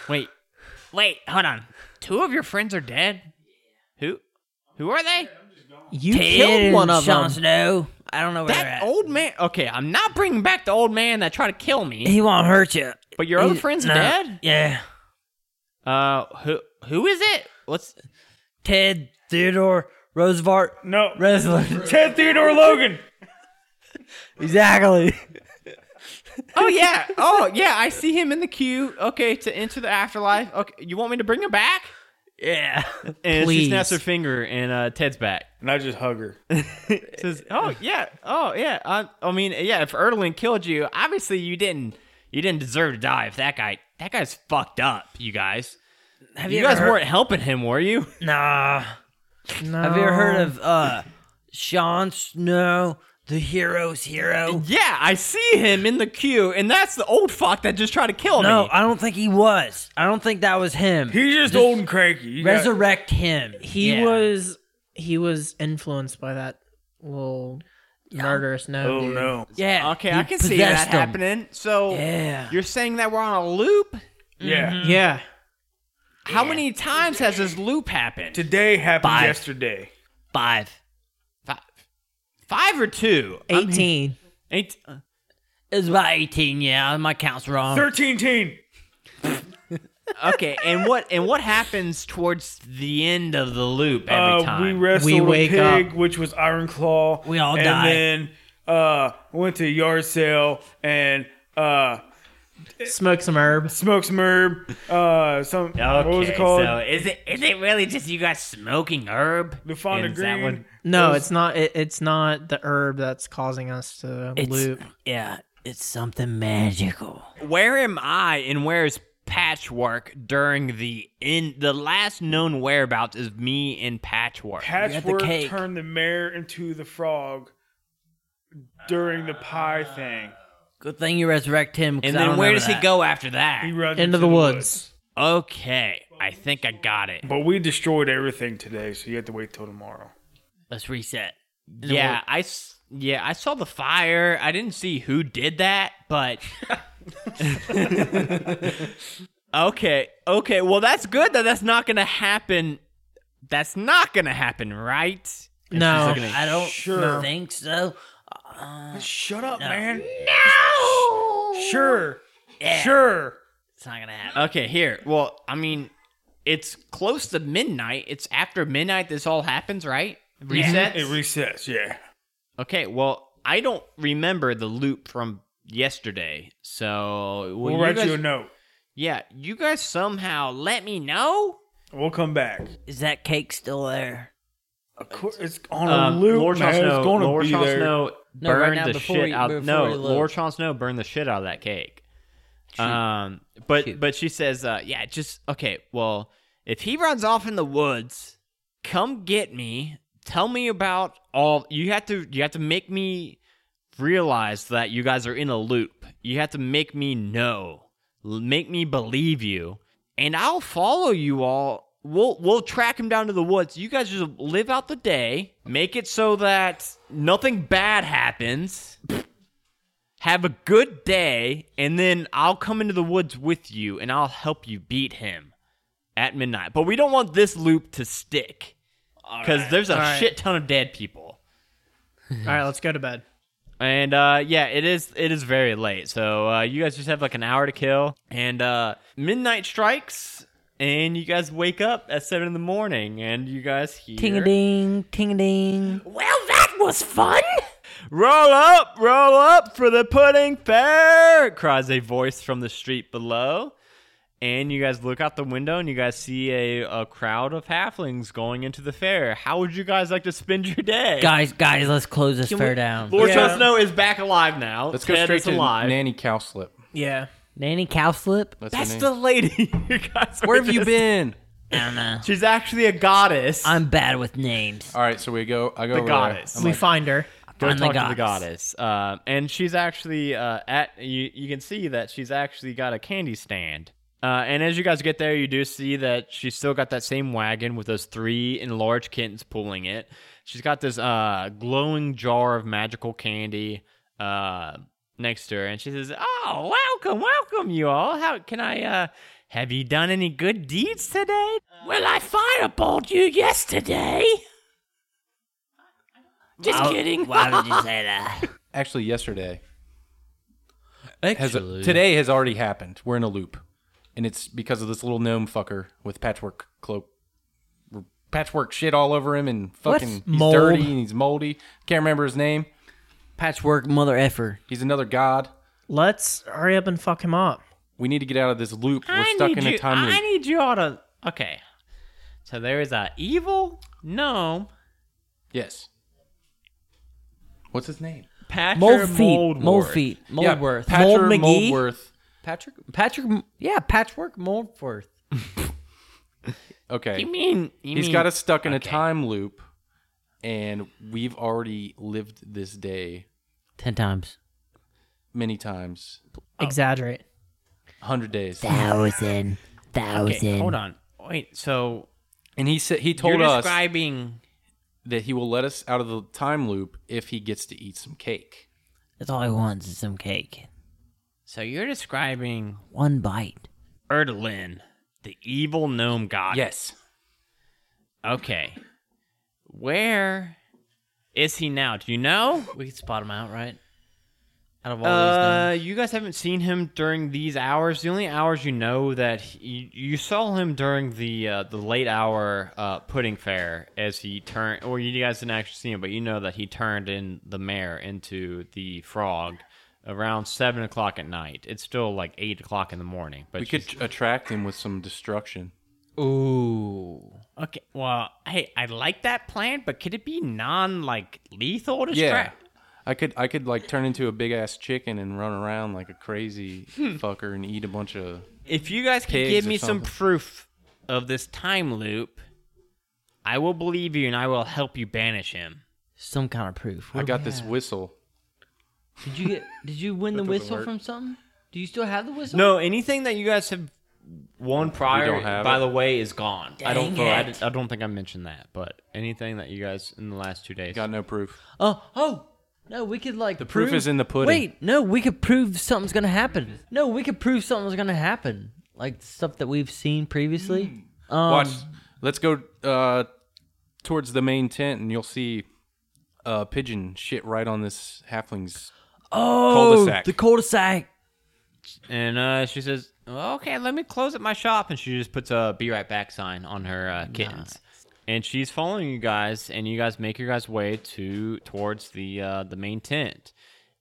[SPEAKER 1] Wait, wait, hold on. Two of your friends are dead. Who? Who are they?
[SPEAKER 4] You
[SPEAKER 2] Ted
[SPEAKER 4] killed
[SPEAKER 2] and
[SPEAKER 4] one of
[SPEAKER 2] Sean
[SPEAKER 4] them.
[SPEAKER 2] Snow. I don't know where they're
[SPEAKER 1] That
[SPEAKER 2] at.
[SPEAKER 1] old man. Okay, I'm not bringing back the old man that tried to kill me.
[SPEAKER 2] He won't hurt you.
[SPEAKER 1] But your other
[SPEAKER 2] He-
[SPEAKER 1] friend's
[SPEAKER 2] no.
[SPEAKER 1] dead.
[SPEAKER 2] Yeah,
[SPEAKER 1] Uh, who? Who is it? What's?
[SPEAKER 2] Ted Theodore Roosevelt
[SPEAKER 3] No.
[SPEAKER 2] Wrestler.
[SPEAKER 3] Ted Theodore Logan.
[SPEAKER 2] *laughs* exactly.
[SPEAKER 1] Oh *laughs* yeah. Oh yeah. I see him in the queue. Okay, to enter the afterlife. Okay, you want me to bring him back? *laughs*
[SPEAKER 2] Yeah.
[SPEAKER 1] And
[SPEAKER 4] Please.
[SPEAKER 1] she snaps her finger, and uh, Ted's back.
[SPEAKER 3] And I just hug her.
[SPEAKER 1] Says, "Oh yeah. Oh yeah. I, I mean, yeah. If Erdlin killed you, obviously you didn't. You didn't deserve to die. If that guy, that guy's fucked up. You guys.
[SPEAKER 2] Have
[SPEAKER 1] You,
[SPEAKER 2] ever
[SPEAKER 1] guys
[SPEAKER 2] heard-
[SPEAKER 1] weren't helping him, were you?
[SPEAKER 2] Nah.
[SPEAKER 4] No.
[SPEAKER 2] Have you ever
[SPEAKER 1] Oh.
[SPEAKER 2] heard of uh Sean Snow, the hero's hero?
[SPEAKER 1] *laughs* Yeah, I see him in the queue, and that's the old fuck that just tried to kill
[SPEAKER 2] No,
[SPEAKER 1] me.
[SPEAKER 2] I don't think he was. I don't think that was him.
[SPEAKER 3] He's just old and cranky. You got-
[SPEAKER 2] Resurrect him.
[SPEAKER 4] He
[SPEAKER 2] Yeah.
[SPEAKER 4] was he was influenced by that little murderous no.
[SPEAKER 3] Oh
[SPEAKER 4] dude.
[SPEAKER 3] no.
[SPEAKER 2] Yeah.
[SPEAKER 1] Okay,
[SPEAKER 2] he
[SPEAKER 1] I can see
[SPEAKER 2] possessed
[SPEAKER 1] that
[SPEAKER 2] him.
[SPEAKER 1] happening. So
[SPEAKER 2] Yeah.
[SPEAKER 1] you're saying that we're on a loop?
[SPEAKER 3] Yeah.
[SPEAKER 4] Yeah.
[SPEAKER 1] How many times has this loop happened?
[SPEAKER 3] Today happened
[SPEAKER 2] Bye.
[SPEAKER 3] yesterday.
[SPEAKER 2] Five.
[SPEAKER 1] Five, five or two? I'm-
[SPEAKER 4] 18.
[SPEAKER 1] Eight.
[SPEAKER 2] It was about eighteen. Yeah, my count's wrong.
[SPEAKER 3] Thirteen teen.
[SPEAKER 1] Okay, and what *laughs* and what happens towards the end of the loop every
[SPEAKER 3] Uh,
[SPEAKER 1] time?
[SPEAKER 3] we wrestled
[SPEAKER 4] We wake
[SPEAKER 3] a pig,
[SPEAKER 4] up.
[SPEAKER 3] which was Iron Claw.
[SPEAKER 2] We all
[SPEAKER 3] and
[SPEAKER 2] die.
[SPEAKER 3] And then uh, went to a yard sale and uh,
[SPEAKER 4] Smoke some herb.
[SPEAKER 3] smoked some herb. Uh, some what was it called?
[SPEAKER 1] So is it is it really just you guys smoking herb?
[SPEAKER 3] The Fonda
[SPEAKER 1] Is that
[SPEAKER 3] Green.
[SPEAKER 1] what-
[SPEAKER 4] No, it's not it, it's not the herb that's causing us to
[SPEAKER 2] It's-
[SPEAKER 4] loop.
[SPEAKER 2] Yeah, it's something magical.
[SPEAKER 1] Where am I and where is Patchwork during the in the last known whereabouts is me and Patchwork.
[SPEAKER 3] Patchwork
[SPEAKER 2] cake.
[SPEAKER 3] turned the mare into the frog during the pie thing.
[SPEAKER 2] Good thing you resurrect him. 'cause
[SPEAKER 1] and
[SPEAKER 2] I
[SPEAKER 1] then
[SPEAKER 2] don't
[SPEAKER 1] where
[SPEAKER 2] remember
[SPEAKER 1] does he
[SPEAKER 2] that.
[SPEAKER 1] go after that?
[SPEAKER 3] He runs
[SPEAKER 4] Into the woods.
[SPEAKER 1] Okay, I think I got it.
[SPEAKER 3] But we destroyed everything today, so you have to wait till tomorrow.
[SPEAKER 2] Let's reset.
[SPEAKER 1] Yeah, I s- yeah, I saw the fire. I didn't see who did that, but Okay. Okay, well that's good that that's not going to happen. That's not going to happen, right?
[SPEAKER 4] No.
[SPEAKER 2] I don't
[SPEAKER 3] Sure.
[SPEAKER 2] think so.
[SPEAKER 3] Shut up, man. No. Sure. Sure.
[SPEAKER 2] It's not gonna happen.
[SPEAKER 1] Okay, here. Well, I mean, it's close to midnight. It's after midnight this all happens, right? Resets?
[SPEAKER 3] It resets. Yeah.
[SPEAKER 1] okay, well, I don't remember the loop from yesterday. So, will
[SPEAKER 3] We'll
[SPEAKER 1] you
[SPEAKER 3] write
[SPEAKER 1] guys-
[SPEAKER 3] you a note.
[SPEAKER 1] Yeah, you guys somehow let me know?
[SPEAKER 3] We'll come back.
[SPEAKER 2] Is that cake still there?
[SPEAKER 3] Of course, it's on a
[SPEAKER 7] Um,
[SPEAKER 3] loop, Um, man. it's going to be there.
[SPEAKER 2] No, right burned now, the before shit you- out- before no, you leave. Lord
[SPEAKER 1] Chon Snow burned the shit out of that cake. Um, but
[SPEAKER 2] Shoot.
[SPEAKER 1] but she says, uh, yeah, just okay. Well, if he runs off in the woods, come get me. Tell me about all. You have to you have to make me realize that you guys are in a loop. You have to make me know, L- make me believe you, and I'll follow you all. We'll we'll track him down to the woods. You guys just live out the day, make it so that nothing bad happens. Have a good day, and then I'll come into the woods with you and I'll help you beat him at midnight. But we don't want this loop to stick. because there's a
[SPEAKER 4] All right.
[SPEAKER 1] shit ton of dead people.
[SPEAKER 4] All right, let's go to bed.
[SPEAKER 1] And uh, yeah, it is it is very late. So uh, you guys just have like an hour to kill, and uh, midnight strikes, and you guys wake up at seven in the morning, and you guys hear
[SPEAKER 2] Ting a ding, ting a ding.
[SPEAKER 1] Roll up, roll up for the pudding fair! cries a voice from the street below. And you guys look out the window and you guys see a, a crowd of halflings going into the fair. How would you guys like to spend your day?
[SPEAKER 2] Guys, guys, let's close this fair down.
[SPEAKER 1] Lord
[SPEAKER 4] Yeah.
[SPEAKER 1] yeah. Snow is back alive now.
[SPEAKER 5] Let's go
[SPEAKER 1] Ted
[SPEAKER 5] straight
[SPEAKER 1] is
[SPEAKER 5] to
[SPEAKER 1] alive.
[SPEAKER 5] Nanny Cowslip.
[SPEAKER 4] Yeah.
[SPEAKER 2] Nanny Cowslip?
[SPEAKER 5] That's,
[SPEAKER 1] That's
[SPEAKER 5] her
[SPEAKER 1] the
[SPEAKER 5] name.
[SPEAKER 1] lady *laughs* you guys.
[SPEAKER 5] Where
[SPEAKER 1] were
[SPEAKER 5] have
[SPEAKER 1] *laughs*
[SPEAKER 5] you
[SPEAKER 1] just-
[SPEAKER 5] been?
[SPEAKER 2] I don't know.
[SPEAKER 1] She's actually a goddess.
[SPEAKER 2] I'm bad with names.
[SPEAKER 5] All right, so we go. I go
[SPEAKER 1] The
[SPEAKER 5] over
[SPEAKER 1] goddess.
[SPEAKER 5] There. I'm
[SPEAKER 4] we
[SPEAKER 5] like,
[SPEAKER 4] find her.
[SPEAKER 1] Go
[SPEAKER 2] I'm the
[SPEAKER 1] talk to the
[SPEAKER 2] goddess.
[SPEAKER 1] goddess. Uh, and she's actually uh, at you. You can see that she's actually got a candy stand. Uh, and as you guys get there, you do see that she's still got that same wagon with those three enlarged kittens pulling it. She's got this uh, glowing jar of magical candy uh, next to her, and she says, "Oh, welcome, welcome, you all. How can I? Uh, have you done any good deeds today? well, I fireballed you yesterday."
[SPEAKER 2] Just kidding. Why would you say that?
[SPEAKER 5] actually yesterday. Has, today has already happened. We're in a loop, and it's because of this little gnome fucker with patchwork cloak, patchwork shit all over him, and fucking he's
[SPEAKER 4] Mold.
[SPEAKER 5] dirty and he's moldy. Can't remember his name.
[SPEAKER 2] Patchwork mother effer.
[SPEAKER 5] He's another god.
[SPEAKER 4] Let's hurry up and fuck him up.
[SPEAKER 5] We need to get out of this loop. We're stuck in
[SPEAKER 1] you,
[SPEAKER 5] a time
[SPEAKER 1] I
[SPEAKER 5] loop.
[SPEAKER 1] need you all to. Okay. So there is a evil gnome,
[SPEAKER 5] yes. What's his name?
[SPEAKER 1] Patcher
[SPEAKER 2] Mold feet.
[SPEAKER 1] Moldwort.
[SPEAKER 2] Mold feet.
[SPEAKER 5] Yeah,
[SPEAKER 2] Moldworth.
[SPEAKER 5] Patcher
[SPEAKER 2] Mold McGee.
[SPEAKER 5] Moldworth.
[SPEAKER 2] Patrick. Patrick. Yeah, Patchwork Moldworth.
[SPEAKER 5] Okay.
[SPEAKER 1] You mean you
[SPEAKER 5] He's
[SPEAKER 1] mean,
[SPEAKER 5] got us stuck in a time loop, and we've already lived this day
[SPEAKER 2] Ten times.
[SPEAKER 5] many times.
[SPEAKER 4] Oh. Exaggerate.
[SPEAKER 5] 100 days.
[SPEAKER 2] Thousand.
[SPEAKER 1] Okay,
[SPEAKER 2] Thousand.
[SPEAKER 1] hold on. Wait. So
[SPEAKER 5] And he said he told
[SPEAKER 1] you're
[SPEAKER 5] us
[SPEAKER 1] describing.
[SPEAKER 5] that he will let us out of the time loop if he gets to eat some cake.
[SPEAKER 2] That's all he wants is some cake.
[SPEAKER 1] So you're describing
[SPEAKER 2] One bite.
[SPEAKER 1] Erdlin, the evil gnome god.
[SPEAKER 5] Yes.
[SPEAKER 1] Okay. Where is he now? Do you know?
[SPEAKER 2] We could spot him out, right? Out of all
[SPEAKER 1] Uh, you guys haven't seen him during these hours. The only hours you know that he, you saw him during the uh, the late hour uh, pudding fair as he turned, or you guys didn't actually see him, but you know that he turned in the mare into the frog around seven o'clock at night. It's still like eight o'clock in the morning. But
[SPEAKER 5] We could tr- attract him with some destruction.
[SPEAKER 1] Ooh. Okay. Well, hey, I like that plan, but could it be non like lethal to
[SPEAKER 5] Yeah. I could I could like turn into a big ass chicken and run around like a crazy fucker and eat a bunch of
[SPEAKER 1] If you guys could
[SPEAKER 5] Pigs
[SPEAKER 1] Hmm. give
[SPEAKER 5] or
[SPEAKER 1] me some
[SPEAKER 5] something.
[SPEAKER 1] proof of this time loop, I will believe you and I will help you banish him.
[SPEAKER 2] some kind of proof. What
[SPEAKER 5] I
[SPEAKER 2] do
[SPEAKER 5] got
[SPEAKER 2] we
[SPEAKER 5] this
[SPEAKER 2] have?
[SPEAKER 5] whistle.
[SPEAKER 2] Did you get? Did you win the
[SPEAKER 5] doesn't
[SPEAKER 2] whistle
[SPEAKER 5] work.
[SPEAKER 2] from something? Do you still have the whistle?
[SPEAKER 1] No, anything that you guys have won prior,
[SPEAKER 5] don't have
[SPEAKER 1] by
[SPEAKER 5] it.
[SPEAKER 1] the way, is gone. I don't.
[SPEAKER 2] Dang
[SPEAKER 1] I,
[SPEAKER 2] it.
[SPEAKER 1] didn't- I don't think I mentioned that, but anything that you guys in the last two days.
[SPEAKER 5] Got no proof.
[SPEAKER 2] Oh, oh. No, we could like the
[SPEAKER 5] proof is in the pudding.
[SPEAKER 2] Wait, no, we could prove something's gonna happen. No, we could prove something's gonna happen, like stuff that we've seen previously. Um,
[SPEAKER 5] Watch. Let's go uh, towards the main tent, and you'll see a pigeon shit right on this halfling's.
[SPEAKER 2] oh,
[SPEAKER 5] cul-de-sac.
[SPEAKER 2] the cul-de-sac.
[SPEAKER 1] And uh, she says, "Okay, let me close up my shop." And she just puts a "Be right back" sign on her uh, kittens. And she's following you guys, and you guys make your guys way to towards the uh, the main tent.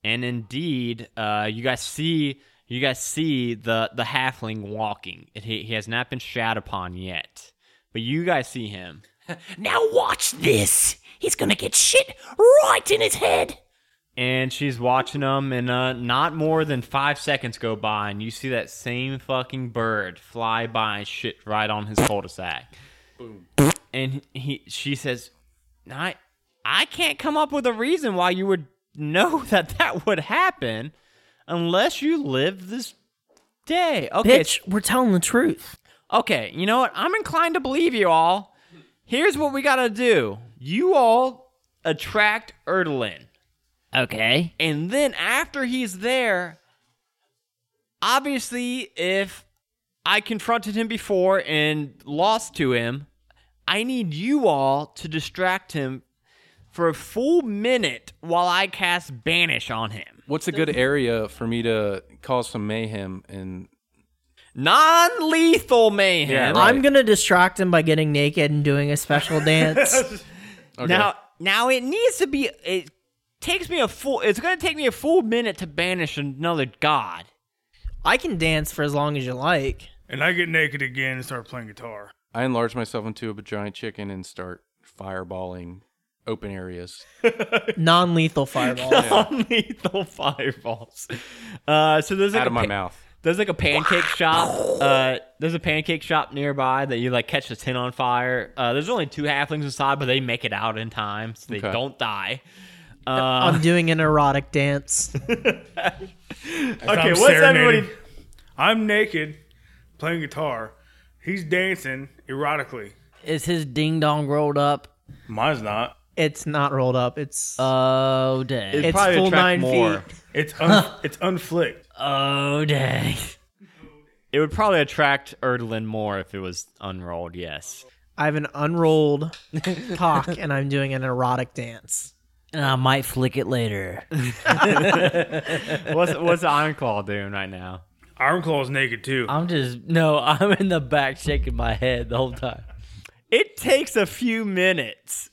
[SPEAKER 1] And indeed, uh, you guys see you guys see the the halfling walking. And he he has not been shat upon yet, but you guys see him.
[SPEAKER 2] *laughs* Now watch this. He's gonna get shit right in his head.
[SPEAKER 1] and she's watching them and uh, not more than five seconds go by and you see that same fucking bird fly by and shit right on his cul-de-sac Boom. and he she says i i can't come up with a reason why you would know *laughs* that that would happen unless you live this day okay
[SPEAKER 4] Bitch, we're telling the truth.
[SPEAKER 1] Okay, you know what? I'm inclined to believe you all. Here's what we gotta do. You all attract Erdlin.
[SPEAKER 2] Okay.
[SPEAKER 1] And then after he's there, obviously, if I confronted him before and lost to him, I need you all to distract him for a full minute while I cast Banish on him.
[SPEAKER 5] What's a good area for me to cause some mayhem and
[SPEAKER 1] Non lethal mayhem.
[SPEAKER 5] Yeah, right.
[SPEAKER 4] I'm gonna distract him by getting naked and doing a *laughs* special dance.
[SPEAKER 1] Now, now it needs to be. It takes me a full. It's gonna take me a full minute to banish another *laughs* god.
[SPEAKER 4] I can dance for as long as you like.
[SPEAKER 3] And I get naked again and start playing guitar.
[SPEAKER 5] I enlarge myself into a giant chicken and start fireballing open areas.
[SPEAKER 4] *laughs* Non-lethal fireball.
[SPEAKER 1] Non-lethal fireballs. Uh, so there's like
[SPEAKER 5] Out of
[SPEAKER 1] a
[SPEAKER 5] my
[SPEAKER 1] pa-
[SPEAKER 5] mouth.
[SPEAKER 1] There's like a pancake shop. Uh, there's a pancake shop nearby that you like catch the tin on fire. Uh, there's only two halflings inside, but they make it out in time, so they
[SPEAKER 5] Okay.
[SPEAKER 1] don't die.
[SPEAKER 4] I'm doing an erotic dance.
[SPEAKER 3] Okay,
[SPEAKER 1] what's everybody-
[SPEAKER 3] I'm naked, playing guitar. He's dancing erotically.
[SPEAKER 2] Is his ding dong rolled up?
[SPEAKER 3] Mine's not.
[SPEAKER 4] It's not rolled up. It's
[SPEAKER 2] Oh dang!
[SPEAKER 4] it's full nine feet.
[SPEAKER 3] It's un- *laughs* it's unflicked.
[SPEAKER 2] Oh dang!
[SPEAKER 1] It would probably attract Erdlin more if it was unrolled. Yes.
[SPEAKER 4] I have an *laughs* unrolled cock, and I'm doing an erotic dance.
[SPEAKER 2] And I might flick it later.
[SPEAKER 1] What's what's Ironclaw doing right now?
[SPEAKER 3] Ironclaw's naked too.
[SPEAKER 2] I'm just no. I'm in the back shaking my head the whole time.
[SPEAKER 1] It takes a few minutes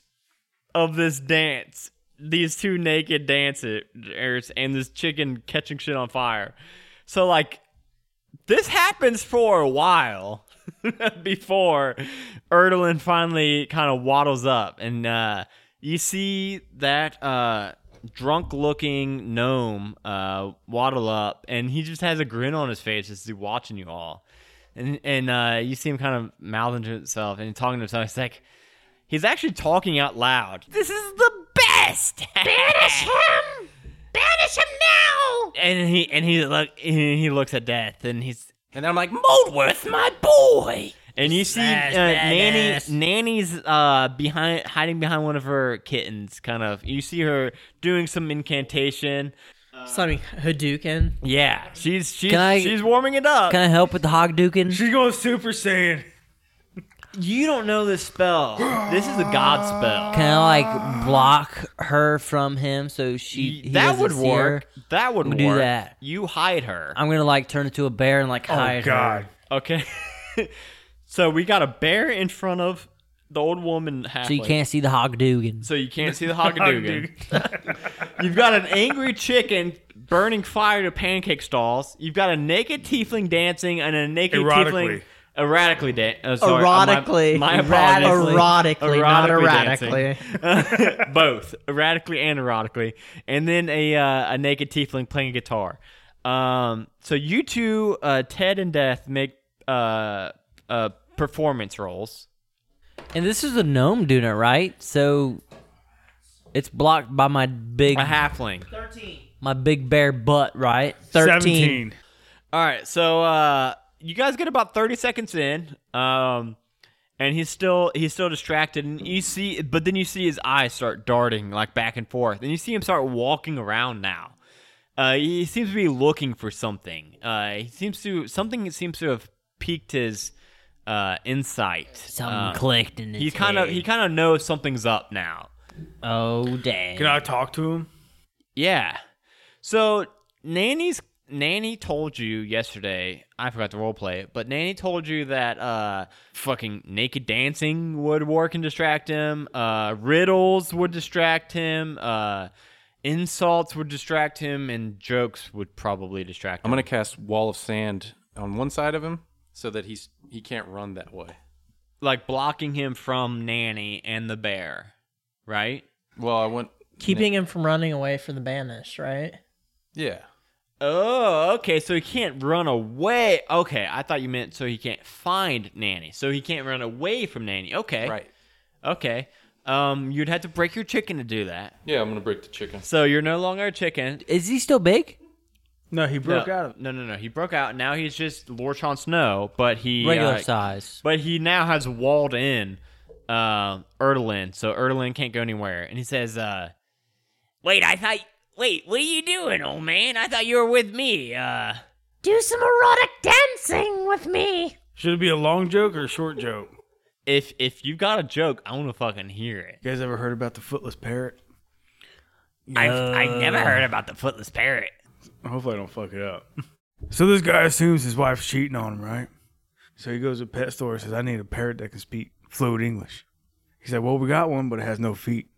[SPEAKER 1] of this dance, these two naked dancers, and this chicken catching shit on fire. So, like, this happens for a while *laughs* before Erdelin finally kind of waddles up. And uh, you see that uh, drunk looking gnome uh, waddle up, and he just has a grin on his face as he's watching you all and and uh, you see him kind of mouthing to himself and talking to himself. He's like, he's actually talking out loud. This is the best. *laughs* Banish him. Banish him now. And he and he look he he looks at death and he's
[SPEAKER 5] And I'm like,
[SPEAKER 1] Moldworth, my boy. And you see uh,
[SPEAKER 2] Smash that
[SPEAKER 1] Nanny,
[SPEAKER 2] ass.
[SPEAKER 1] Nanny's uh, behind, hiding behind one of her kittens. Kind of, you see her doing some incantation.
[SPEAKER 4] So I mean, Hadouken.
[SPEAKER 1] Yeah, she's she's
[SPEAKER 2] Can I-
[SPEAKER 1] she's warming it up.
[SPEAKER 2] Can I help with the hog duking?
[SPEAKER 3] She's going Super Saiyan.
[SPEAKER 1] you don't know this spell. *gasps* This is a god spell.
[SPEAKER 2] Can I like block her from him so she he
[SPEAKER 1] that
[SPEAKER 2] doesn't
[SPEAKER 1] would
[SPEAKER 2] see
[SPEAKER 1] work.
[SPEAKER 2] her?
[SPEAKER 1] That would
[SPEAKER 2] We'll
[SPEAKER 1] work.
[SPEAKER 2] do that.
[SPEAKER 1] You hide her.
[SPEAKER 2] I'm gonna like turn into a bear and like
[SPEAKER 3] Oh
[SPEAKER 2] hide her.
[SPEAKER 3] God.
[SPEAKER 1] okay. so we got a bear in front of the old woman. Halfway.
[SPEAKER 2] So you can't see the hog dugan.
[SPEAKER 1] So you can't see the Hockadugan. *laughs* You've got an angry chicken burning fire to pancake stalls. You've got a naked tiefling dancing and a naked
[SPEAKER 3] Erotically.
[SPEAKER 1] tiefling erratically dancing. Uh, sorry, uh, my-
[SPEAKER 4] Erotically.
[SPEAKER 1] My, apologies.
[SPEAKER 4] erotically, not
[SPEAKER 1] dancing.
[SPEAKER 4] erratically.
[SPEAKER 1] both erratically and erotically, and then a uh, a naked tiefling playing guitar. Um, so you two, uh, Ted and Death, make uh, uh, performance roles.
[SPEAKER 2] And this is a gnome doing it, right? So it's blocked by my big
[SPEAKER 1] A halfling.
[SPEAKER 2] my big bear butt, right?
[SPEAKER 4] 13.
[SPEAKER 3] Seventeen.
[SPEAKER 1] All right, so uh, you guys get about thirty seconds in, um, and he's still he's still distracted, and you see, but then you see his eyes start darting like back and forth, and you see him start walking around now. Uh, he seems to be looking for something. Uh, he seems to something seems to have piqued his uh, insight.
[SPEAKER 2] Something
[SPEAKER 1] Uh,
[SPEAKER 2] clicked in his
[SPEAKER 1] he kind of
[SPEAKER 2] head.
[SPEAKER 1] he kind of knows something's up now.
[SPEAKER 2] Oh dang!
[SPEAKER 3] Can I talk to him?
[SPEAKER 1] Yeah. So Nanny's Nanny told you yesterday. I forgot to roleplay it, but Nanny told you that uh, fucking naked dancing would work and distract him. Uh, riddles would distract him. Uh, insults would distract him, and jokes would probably distract him.
[SPEAKER 5] I'm gonna cast wall of sand on one side of him so that he's he can't run that way.
[SPEAKER 1] like blocking him from Nanny and the bear, right?
[SPEAKER 5] Well, I want
[SPEAKER 4] Keeping him from running away from the banish, right?
[SPEAKER 5] yeah.
[SPEAKER 1] Oh, okay. So he can't run away. Okay, I thought you meant so he can't find Nanny. So he can't run away from Nanny. Okay.
[SPEAKER 5] Right.
[SPEAKER 1] Okay. Um, you'd have to break your chicken to do that.
[SPEAKER 5] Yeah, I'm gonna break the chicken.
[SPEAKER 1] So you're no longer a chicken.
[SPEAKER 2] Is he still big?
[SPEAKER 3] No, he broke
[SPEAKER 1] no,
[SPEAKER 3] out of it.
[SPEAKER 1] No, no, no. He broke out. Now he's just Lord Sean Snow, but he
[SPEAKER 2] Regular
[SPEAKER 1] uh,
[SPEAKER 2] size.
[SPEAKER 1] But he now has walled in uh, Erdelin, so Erdelin can't go anywhere. And he says, uh, "Wait, I thought. Wait, what are you doing, old man? I thought you were with me. Uh,
[SPEAKER 3] Should it be a long joke or a short joke?
[SPEAKER 1] if if you got a joke, I want to fucking hear it.
[SPEAKER 3] You guys ever heard about the footless parrot?
[SPEAKER 2] I've, I've never heard about the footless parrot.
[SPEAKER 3] Hopefully, I don't fuck it up. So this guy assumes his wife's cheating on him, right? So he goes to a pet store and says, "I need a parrot that can speak fluent English." He said, "Well, we got one, but it has no feet."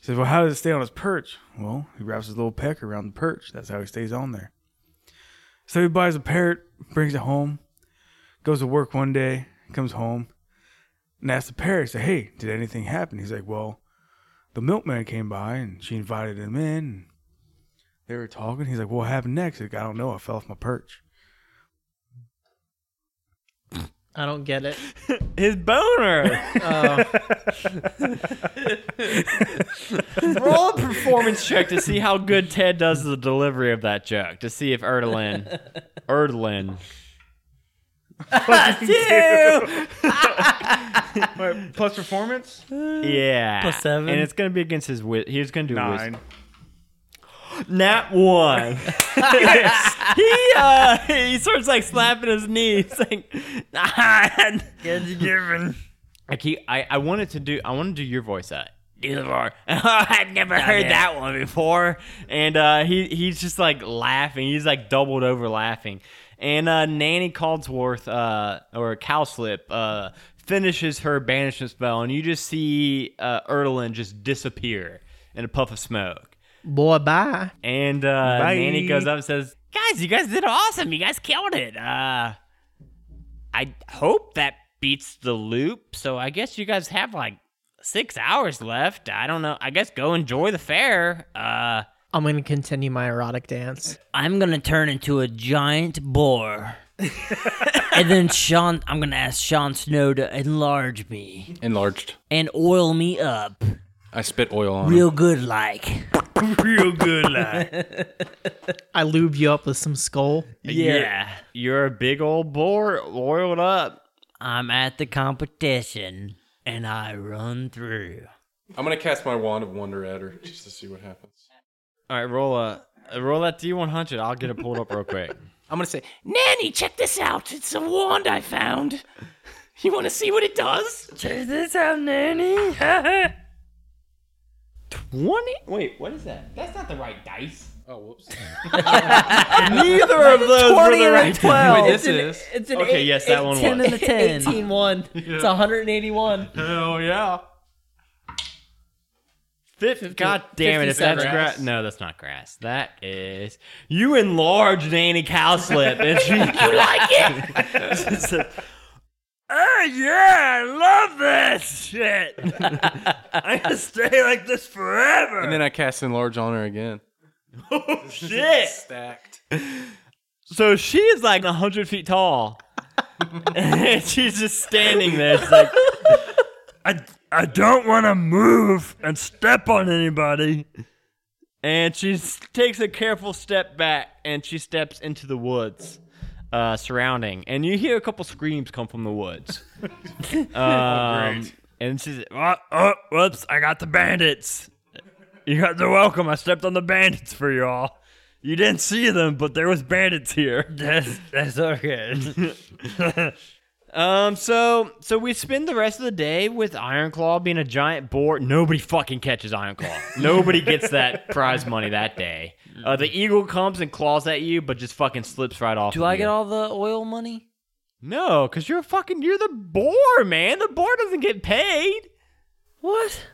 [SPEAKER 3] He says, "Well, how does it stay on his perch?" Well, he wraps his little peck around the perch. That's how he stays on there. So he buys a parrot, brings it home, goes to work one day, comes home, and asks the parrot, he said, "Hey, did anything happen?" He's like, "Well, the milkman came by and she invited him in." And they were talking. He's like, "What happened next?" He's like, "I don't know. I fell off my *laughs* perch."
[SPEAKER 4] I don't get it.
[SPEAKER 1] His *laughs* boner.
[SPEAKER 2] Oh.
[SPEAKER 1] Roll a performance check to see how good Ted does the delivery of that joke. To see if Erdlin, Erdlin,
[SPEAKER 3] Plus performance
[SPEAKER 1] yeah,
[SPEAKER 2] Plus seven.
[SPEAKER 1] and it's gonna be against his. Wi- he's gonna do
[SPEAKER 3] nine.
[SPEAKER 1] Wis- nat one.
[SPEAKER 2] he uh, he starts like slapping his knee. He's *laughs* like, ah,
[SPEAKER 1] I keep. I, I wanted to do. I want to do your voice at. *laughs*
[SPEAKER 2] neither are. I've never heard
[SPEAKER 1] heard
[SPEAKER 2] that.
[SPEAKER 1] that one before. And uh, he he's just like laughing. He's like doubled over laughing. And uh, Nanny Caldsworth uh, or Cowslip uh, finishes her banishment spell, and you just see uh, Erdelin just disappear in a puff of smoke.
[SPEAKER 4] Boy, bye.
[SPEAKER 1] And uh,
[SPEAKER 3] Bye.
[SPEAKER 1] Nanny goes up and says,
[SPEAKER 2] Guys, you guys did awesome. You guys killed it. Uh, I hope that beats the loop. So I guess you guys have like six hours left. I don't know. I guess go enjoy the fair. Uh,
[SPEAKER 4] I'm gonna continue my erotic dance.
[SPEAKER 2] I'm gonna turn into a giant
[SPEAKER 3] *laughs*
[SPEAKER 2] boar. and then Sean, I'm gonna ask Sean Snow to enlarge me
[SPEAKER 5] Enlarged.
[SPEAKER 2] and oil me up
[SPEAKER 5] I spit oil on him.
[SPEAKER 2] real good, like.
[SPEAKER 3] Real good line.
[SPEAKER 4] I lube you up with some *laughs* skull.
[SPEAKER 1] "You're- you're a big old boar oiled up."
[SPEAKER 2] I'm at the competition and I run through.
[SPEAKER 5] I'm gonna cast my wand of wonder at her just to see what happens.
[SPEAKER 1] All right, roll a roll that D100. I'll get it pulled up real
[SPEAKER 6] *laughs*
[SPEAKER 1] quick.
[SPEAKER 5] I'm gonna say
[SPEAKER 6] Nanny, check this out. It's a wand I found. *laughs* You want to see what it does?
[SPEAKER 2] Check this out, Nanny. *laughs*
[SPEAKER 1] Twenty? Wait, what is that? That's not the right dice.
[SPEAKER 5] Oh whoops.
[SPEAKER 1] Neither of those were the right
[SPEAKER 5] Wait, this is
[SPEAKER 2] It's an
[SPEAKER 1] Okay, yes, that one was.
[SPEAKER 2] a 10. 18 1.
[SPEAKER 1] *laughs*
[SPEAKER 2] It's 181.
[SPEAKER 5] Hell yeah.
[SPEAKER 1] Fifth, God damn it! If that's
[SPEAKER 2] Fifty-seven.
[SPEAKER 1] grass, no, that's not grass. That is you enlarged Nanny Cowslip, and she *laughs* you like *laughs* it. Oh yeah, I love this shit. *laughs* I'm gonna stay like this forever.
[SPEAKER 5] And then I cast enlarge on her again.
[SPEAKER 1] shit.
[SPEAKER 5] Stacked.
[SPEAKER 1] So she is like hundred feet tall, *laughs* and she's just standing there. It's
[SPEAKER 3] *laughs*
[SPEAKER 1] like I, I don't want to move and step on anybody. And she s- takes a careful step back, and she steps into the woods uh, surrounding. And you hear a couple screams come from the *laughs* woods. um, and she's, oh, oh, whoops, I got the bandits. You guys are welcome. I stepped on the bandits for y'all. You didn't see them, but there was bandits here. *laughs* That's that's okay. *laughs* um, so so we spend the rest of the day with Ironclaw being a giant boar. Nobody fucking catches *laughs* Ironclaw. Nobody gets that prize money that day. Uh, the eagle comes and claws at you, but just fucking slips right off.
[SPEAKER 2] Do
[SPEAKER 1] of
[SPEAKER 2] I
[SPEAKER 1] you.
[SPEAKER 2] get all the oil money?
[SPEAKER 1] No, because you're fucking you're the boar, man. The boar doesn't get paid.
[SPEAKER 2] What?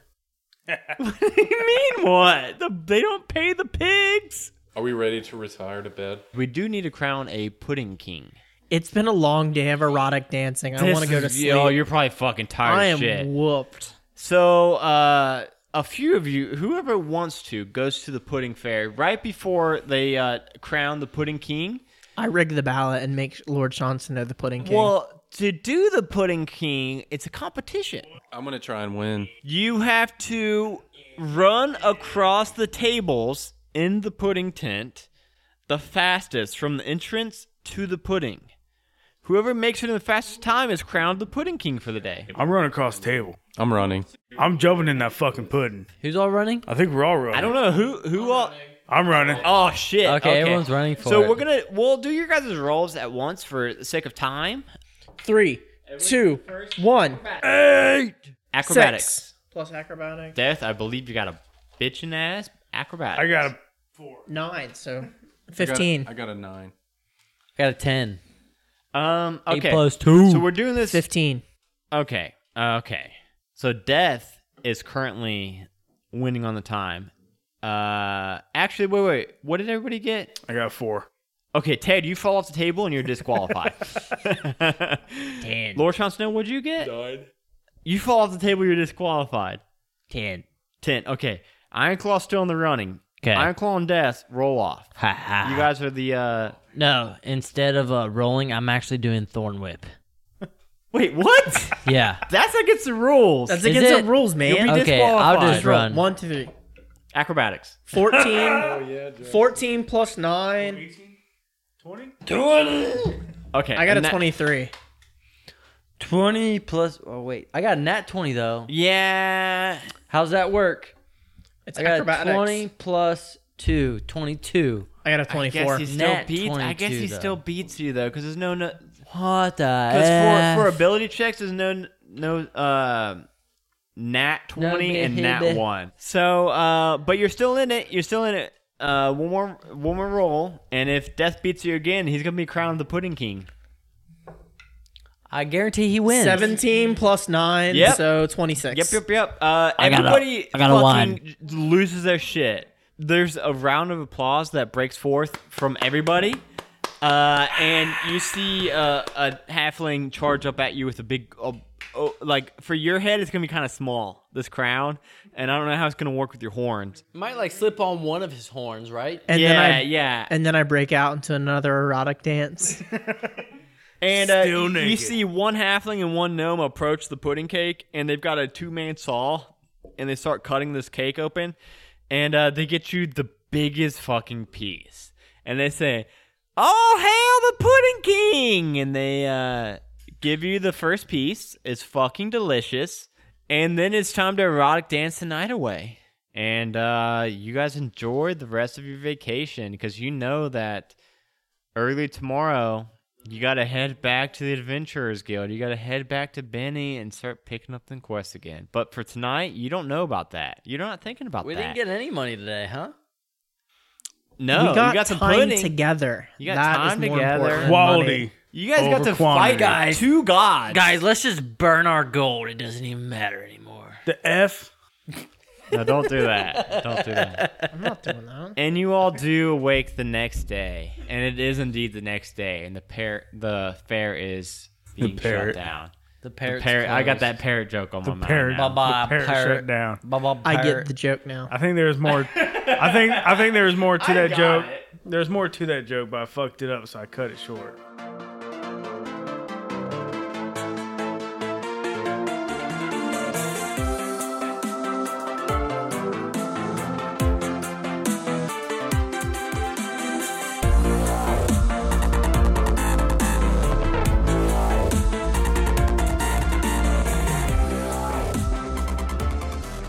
[SPEAKER 1] What do *laughs* you mean what? The, they don't pay the pigs.
[SPEAKER 5] Are we ready to retire to bed?
[SPEAKER 1] We do need to crown a pudding king.
[SPEAKER 4] It's been a long day of erotic dancing. I
[SPEAKER 1] This
[SPEAKER 4] want to go to
[SPEAKER 1] is-
[SPEAKER 4] sleep.
[SPEAKER 1] Yo, you're probably fucking tired
[SPEAKER 4] I
[SPEAKER 1] of
[SPEAKER 4] am
[SPEAKER 1] shit.
[SPEAKER 4] whooped.
[SPEAKER 1] so, uh, a few of you, whoever wants to, goes to the pudding fair right before they uh, crown the pudding king.
[SPEAKER 4] I rig the ballot and make Lord Johnson know the pudding king.
[SPEAKER 1] Well, to do the pudding king, it's a competition.
[SPEAKER 5] I'm gonna try and win.
[SPEAKER 1] You have to run across the tables in the pudding tent the fastest from the entrance to the pudding. Whoever makes it in the fastest time is crowned the pudding king for the day.
[SPEAKER 3] I'm running across the table.
[SPEAKER 5] I'm running.
[SPEAKER 3] I'm jumping in that fucking pudding.
[SPEAKER 2] Who's all running?
[SPEAKER 3] I think we're all running.
[SPEAKER 1] I don't know who who all
[SPEAKER 3] I'm running.
[SPEAKER 1] Oh shit!
[SPEAKER 2] Okay, everyone's running for
[SPEAKER 1] so
[SPEAKER 2] it.
[SPEAKER 1] we're gonna we'll do your guys' rolls at once for the sake of time.
[SPEAKER 4] Three, two, one,
[SPEAKER 2] Acrobatics.
[SPEAKER 4] six. Plus acrobatic.
[SPEAKER 2] Death, I believe you got a bitchin' ass. Acrobatics.
[SPEAKER 3] I got a
[SPEAKER 4] Nine, so
[SPEAKER 5] got a-
[SPEAKER 4] 15.
[SPEAKER 5] I got a nine.
[SPEAKER 2] got a 10. Um, okay.
[SPEAKER 7] Eight plus two.
[SPEAKER 1] So we're doing this.
[SPEAKER 4] 15.
[SPEAKER 1] Okay. Okay. So Death is currently winning on the time. Uh, actually, wait, wait. What did everybody get?
[SPEAKER 3] I got a four.
[SPEAKER 1] Okay, Ted, you fall off the table and you're
[SPEAKER 7] *laughs*
[SPEAKER 1] disqualified.
[SPEAKER 2] Ten.
[SPEAKER 1] Lord Sean Snow, what'd you get? You fall off the table, you're disqualified.
[SPEAKER 2] 10.
[SPEAKER 1] Ten. Okay. Iron Claw still in the running.
[SPEAKER 7] 'Kay.
[SPEAKER 1] Iron Claw and Death roll off.
[SPEAKER 7] Ha ha.
[SPEAKER 1] You guys are the. uh
[SPEAKER 7] no, instead of uh, rolling, I'm actually doing Thorn Whip.
[SPEAKER 1] *laughs* Wait, what? *laughs*
[SPEAKER 7] Yeah.
[SPEAKER 1] That's against the rules.
[SPEAKER 4] That's
[SPEAKER 7] Is
[SPEAKER 4] against
[SPEAKER 7] it-
[SPEAKER 4] the rules, man.
[SPEAKER 1] You'll be
[SPEAKER 7] okay, I'll just
[SPEAKER 1] disqualified.
[SPEAKER 7] run.
[SPEAKER 4] One, two, three.
[SPEAKER 1] Acrobatics.
[SPEAKER 4] 14. 14 plus 9.
[SPEAKER 1] Okay.
[SPEAKER 4] I got a
[SPEAKER 1] and that-
[SPEAKER 4] 23.
[SPEAKER 7] 20 plus. Oh, wait. I got a nat 20, though.
[SPEAKER 1] Yeah.
[SPEAKER 7] How's that work?
[SPEAKER 4] It's
[SPEAKER 7] I got
[SPEAKER 4] acrobatics.
[SPEAKER 7] 20 plus 2. 22.
[SPEAKER 4] I got a 24.
[SPEAKER 1] Guess he still
[SPEAKER 7] Nat
[SPEAKER 1] beats. I guess
[SPEAKER 7] 22,
[SPEAKER 1] he
[SPEAKER 7] though.
[SPEAKER 1] still beats you though, because there's no no.
[SPEAKER 7] What the
[SPEAKER 1] Because
[SPEAKER 7] F?
[SPEAKER 1] for, for ability checks, there's no no uh, nat
[SPEAKER 7] No
[SPEAKER 1] twenty and nat
[SPEAKER 7] baby.
[SPEAKER 1] one. So, uh, but you're still in it. You're still in it. Uh, one more one more roll, and if Death beats you again, he's gonna be crowned the Pudding King.
[SPEAKER 7] I guarantee he wins.
[SPEAKER 4] 17 plus 9,
[SPEAKER 1] Yep.
[SPEAKER 4] so 26.
[SPEAKER 1] Yep, yep, yep. Uh,
[SPEAKER 7] I got a-
[SPEAKER 1] everybody
[SPEAKER 7] I got a
[SPEAKER 1] fucking
[SPEAKER 7] one.
[SPEAKER 1] j- loses their shit. There's a round of applause that breaks forth from everybody. Uh, and you see uh, a halfling charge up at you with a big, uh, oh, like for your head, it's gonna be kind of small. This crown, and I don't know how it's gonna work with your horns.
[SPEAKER 7] Might like slip on one of his horns, right?
[SPEAKER 4] And
[SPEAKER 1] yeah,
[SPEAKER 4] then I,
[SPEAKER 1] yeah.
[SPEAKER 4] And then I break out into another
[SPEAKER 1] *laughs*
[SPEAKER 4] erotic dance.
[SPEAKER 1] And uh,
[SPEAKER 3] Still
[SPEAKER 1] you- you
[SPEAKER 3] naked.
[SPEAKER 1] see one halfling and one gnome approach the pudding cake, and they've got a two man saw, and they start cutting this cake open, and uh, they get you the biggest fucking piece, and they say, "All hail the pudding king!" And they uh, give you the first piece. It's fucking delicious, and then it's time to erotic dance the night away. And uh, you guys enjoy the rest of your vacation because you know that early tomorrow you gotta head back to the Adventurers Guild. You gotta head back to Benny and start picking up them quests again. But for tonight, you don't know about that. You're not thinking about
[SPEAKER 7] We
[SPEAKER 1] that.
[SPEAKER 7] didn't get any money today, huh?
[SPEAKER 1] no.
[SPEAKER 4] we got,
[SPEAKER 1] Oh, you got some
[SPEAKER 4] time
[SPEAKER 1] pudding.
[SPEAKER 4] together.
[SPEAKER 1] You got
[SPEAKER 4] That
[SPEAKER 1] time
[SPEAKER 4] is more
[SPEAKER 1] together.
[SPEAKER 4] important than money.
[SPEAKER 3] Quality.
[SPEAKER 1] you guys got
[SPEAKER 3] over
[SPEAKER 1] to
[SPEAKER 3] quantity.
[SPEAKER 1] fight guys. two gods.
[SPEAKER 7] Guys, let's just burn our gold. It doesn't even matter anymore.
[SPEAKER 3] The F.
[SPEAKER 1] No, don't do
[SPEAKER 4] *laughs*
[SPEAKER 1] that. Don't do that.
[SPEAKER 4] I'm not doing that.
[SPEAKER 1] And you all do awake the next day, and it is indeed the next day, and the pair, the fair is being shut
[SPEAKER 3] parrot.
[SPEAKER 1] down.
[SPEAKER 7] The parrot.
[SPEAKER 1] Parrot, I got that parrot joke on my mind.
[SPEAKER 3] parrot.
[SPEAKER 1] now.
[SPEAKER 7] Bye bye,
[SPEAKER 3] The parrot
[SPEAKER 7] parrot.
[SPEAKER 3] shut down.
[SPEAKER 7] Bye bye,
[SPEAKER 4] I
[SPEAKER 7] parrot.
[SPEAKER 4] get the joke now.
[SPEAKER 3] I think there's more. I think I think there was more to that joke. There's more to that joke, but I fucked it up, so I cut it short.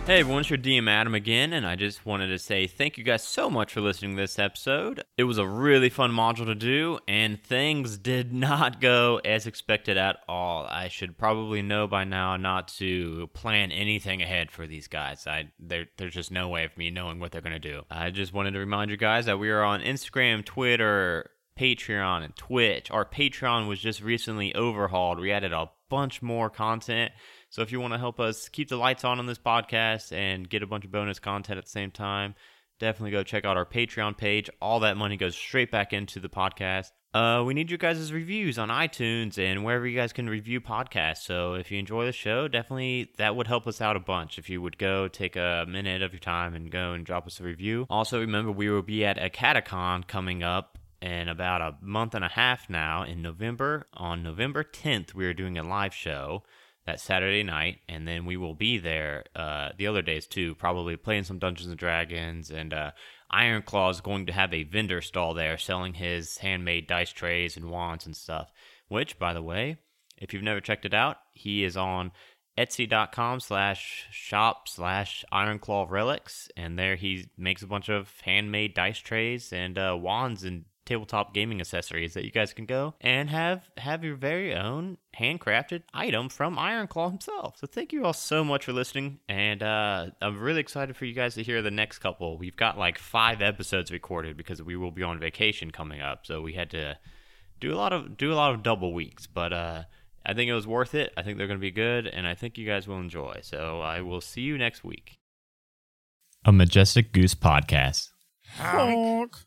[SPEAKER 1] Hey everyone, it's your DM Adam again, and I just wanted to say thank you guys so much for listening to this episode. It was a really fun module to do, and things did *laughs* not go as expected at all. I should probably know by now not to plan anything ahead for these guys. I there, there's just no way of me knowing what they're gonna do. I just wanted to remind you guys that we are on Instagram, Twitter, Patreon and Twitch. Our Patreon was just recently overhauled. We added a bunch more content. So if you want to help us keep the lights on on this podcast and get a bunch of bonus content at the same time, definitely go check out our Patreon page. All that money goes straight back into the podcast. Uh, we need you guys' reviews on iTunes and wherever you guys can review podcasts. So if you enjoy the show, definitely that would help us out a bunch if you would go take a minute of your time and go and drop us a review. Also, remember we will be at a catacon coming up in about a month and a half now in November. On November 10th, we are doing a live show that Saturday night, and then we will be there uh, the other days too, probably playing some Dungeons and Dragons. And uh, Iron Claw is going to have a vendor stall there selling his handmade dice trays and wands and stuff. Which, by the way, if you've never checked it out, he is on etsy.com slash shop slash ironclaw relics and there he makes a bunch of handmade dice trays and uh, wands and tabletop gaming accessories that you guys can go and have have your very own handcrafted item from Ironclaw himself. So thank you all so much for listening, and uh, I'm really excited for you guys to hear the next couple. We've got like five episodes recorded because we will be on vacation coming up, so we had to do a lot of do a lot of double weeks, but uh, I think it was worth it. I think they're going to be good, and I think you guys will enjoy. So I will see you next week. A Majestic Goose Podcast.
[SPEAKER 4] Honk.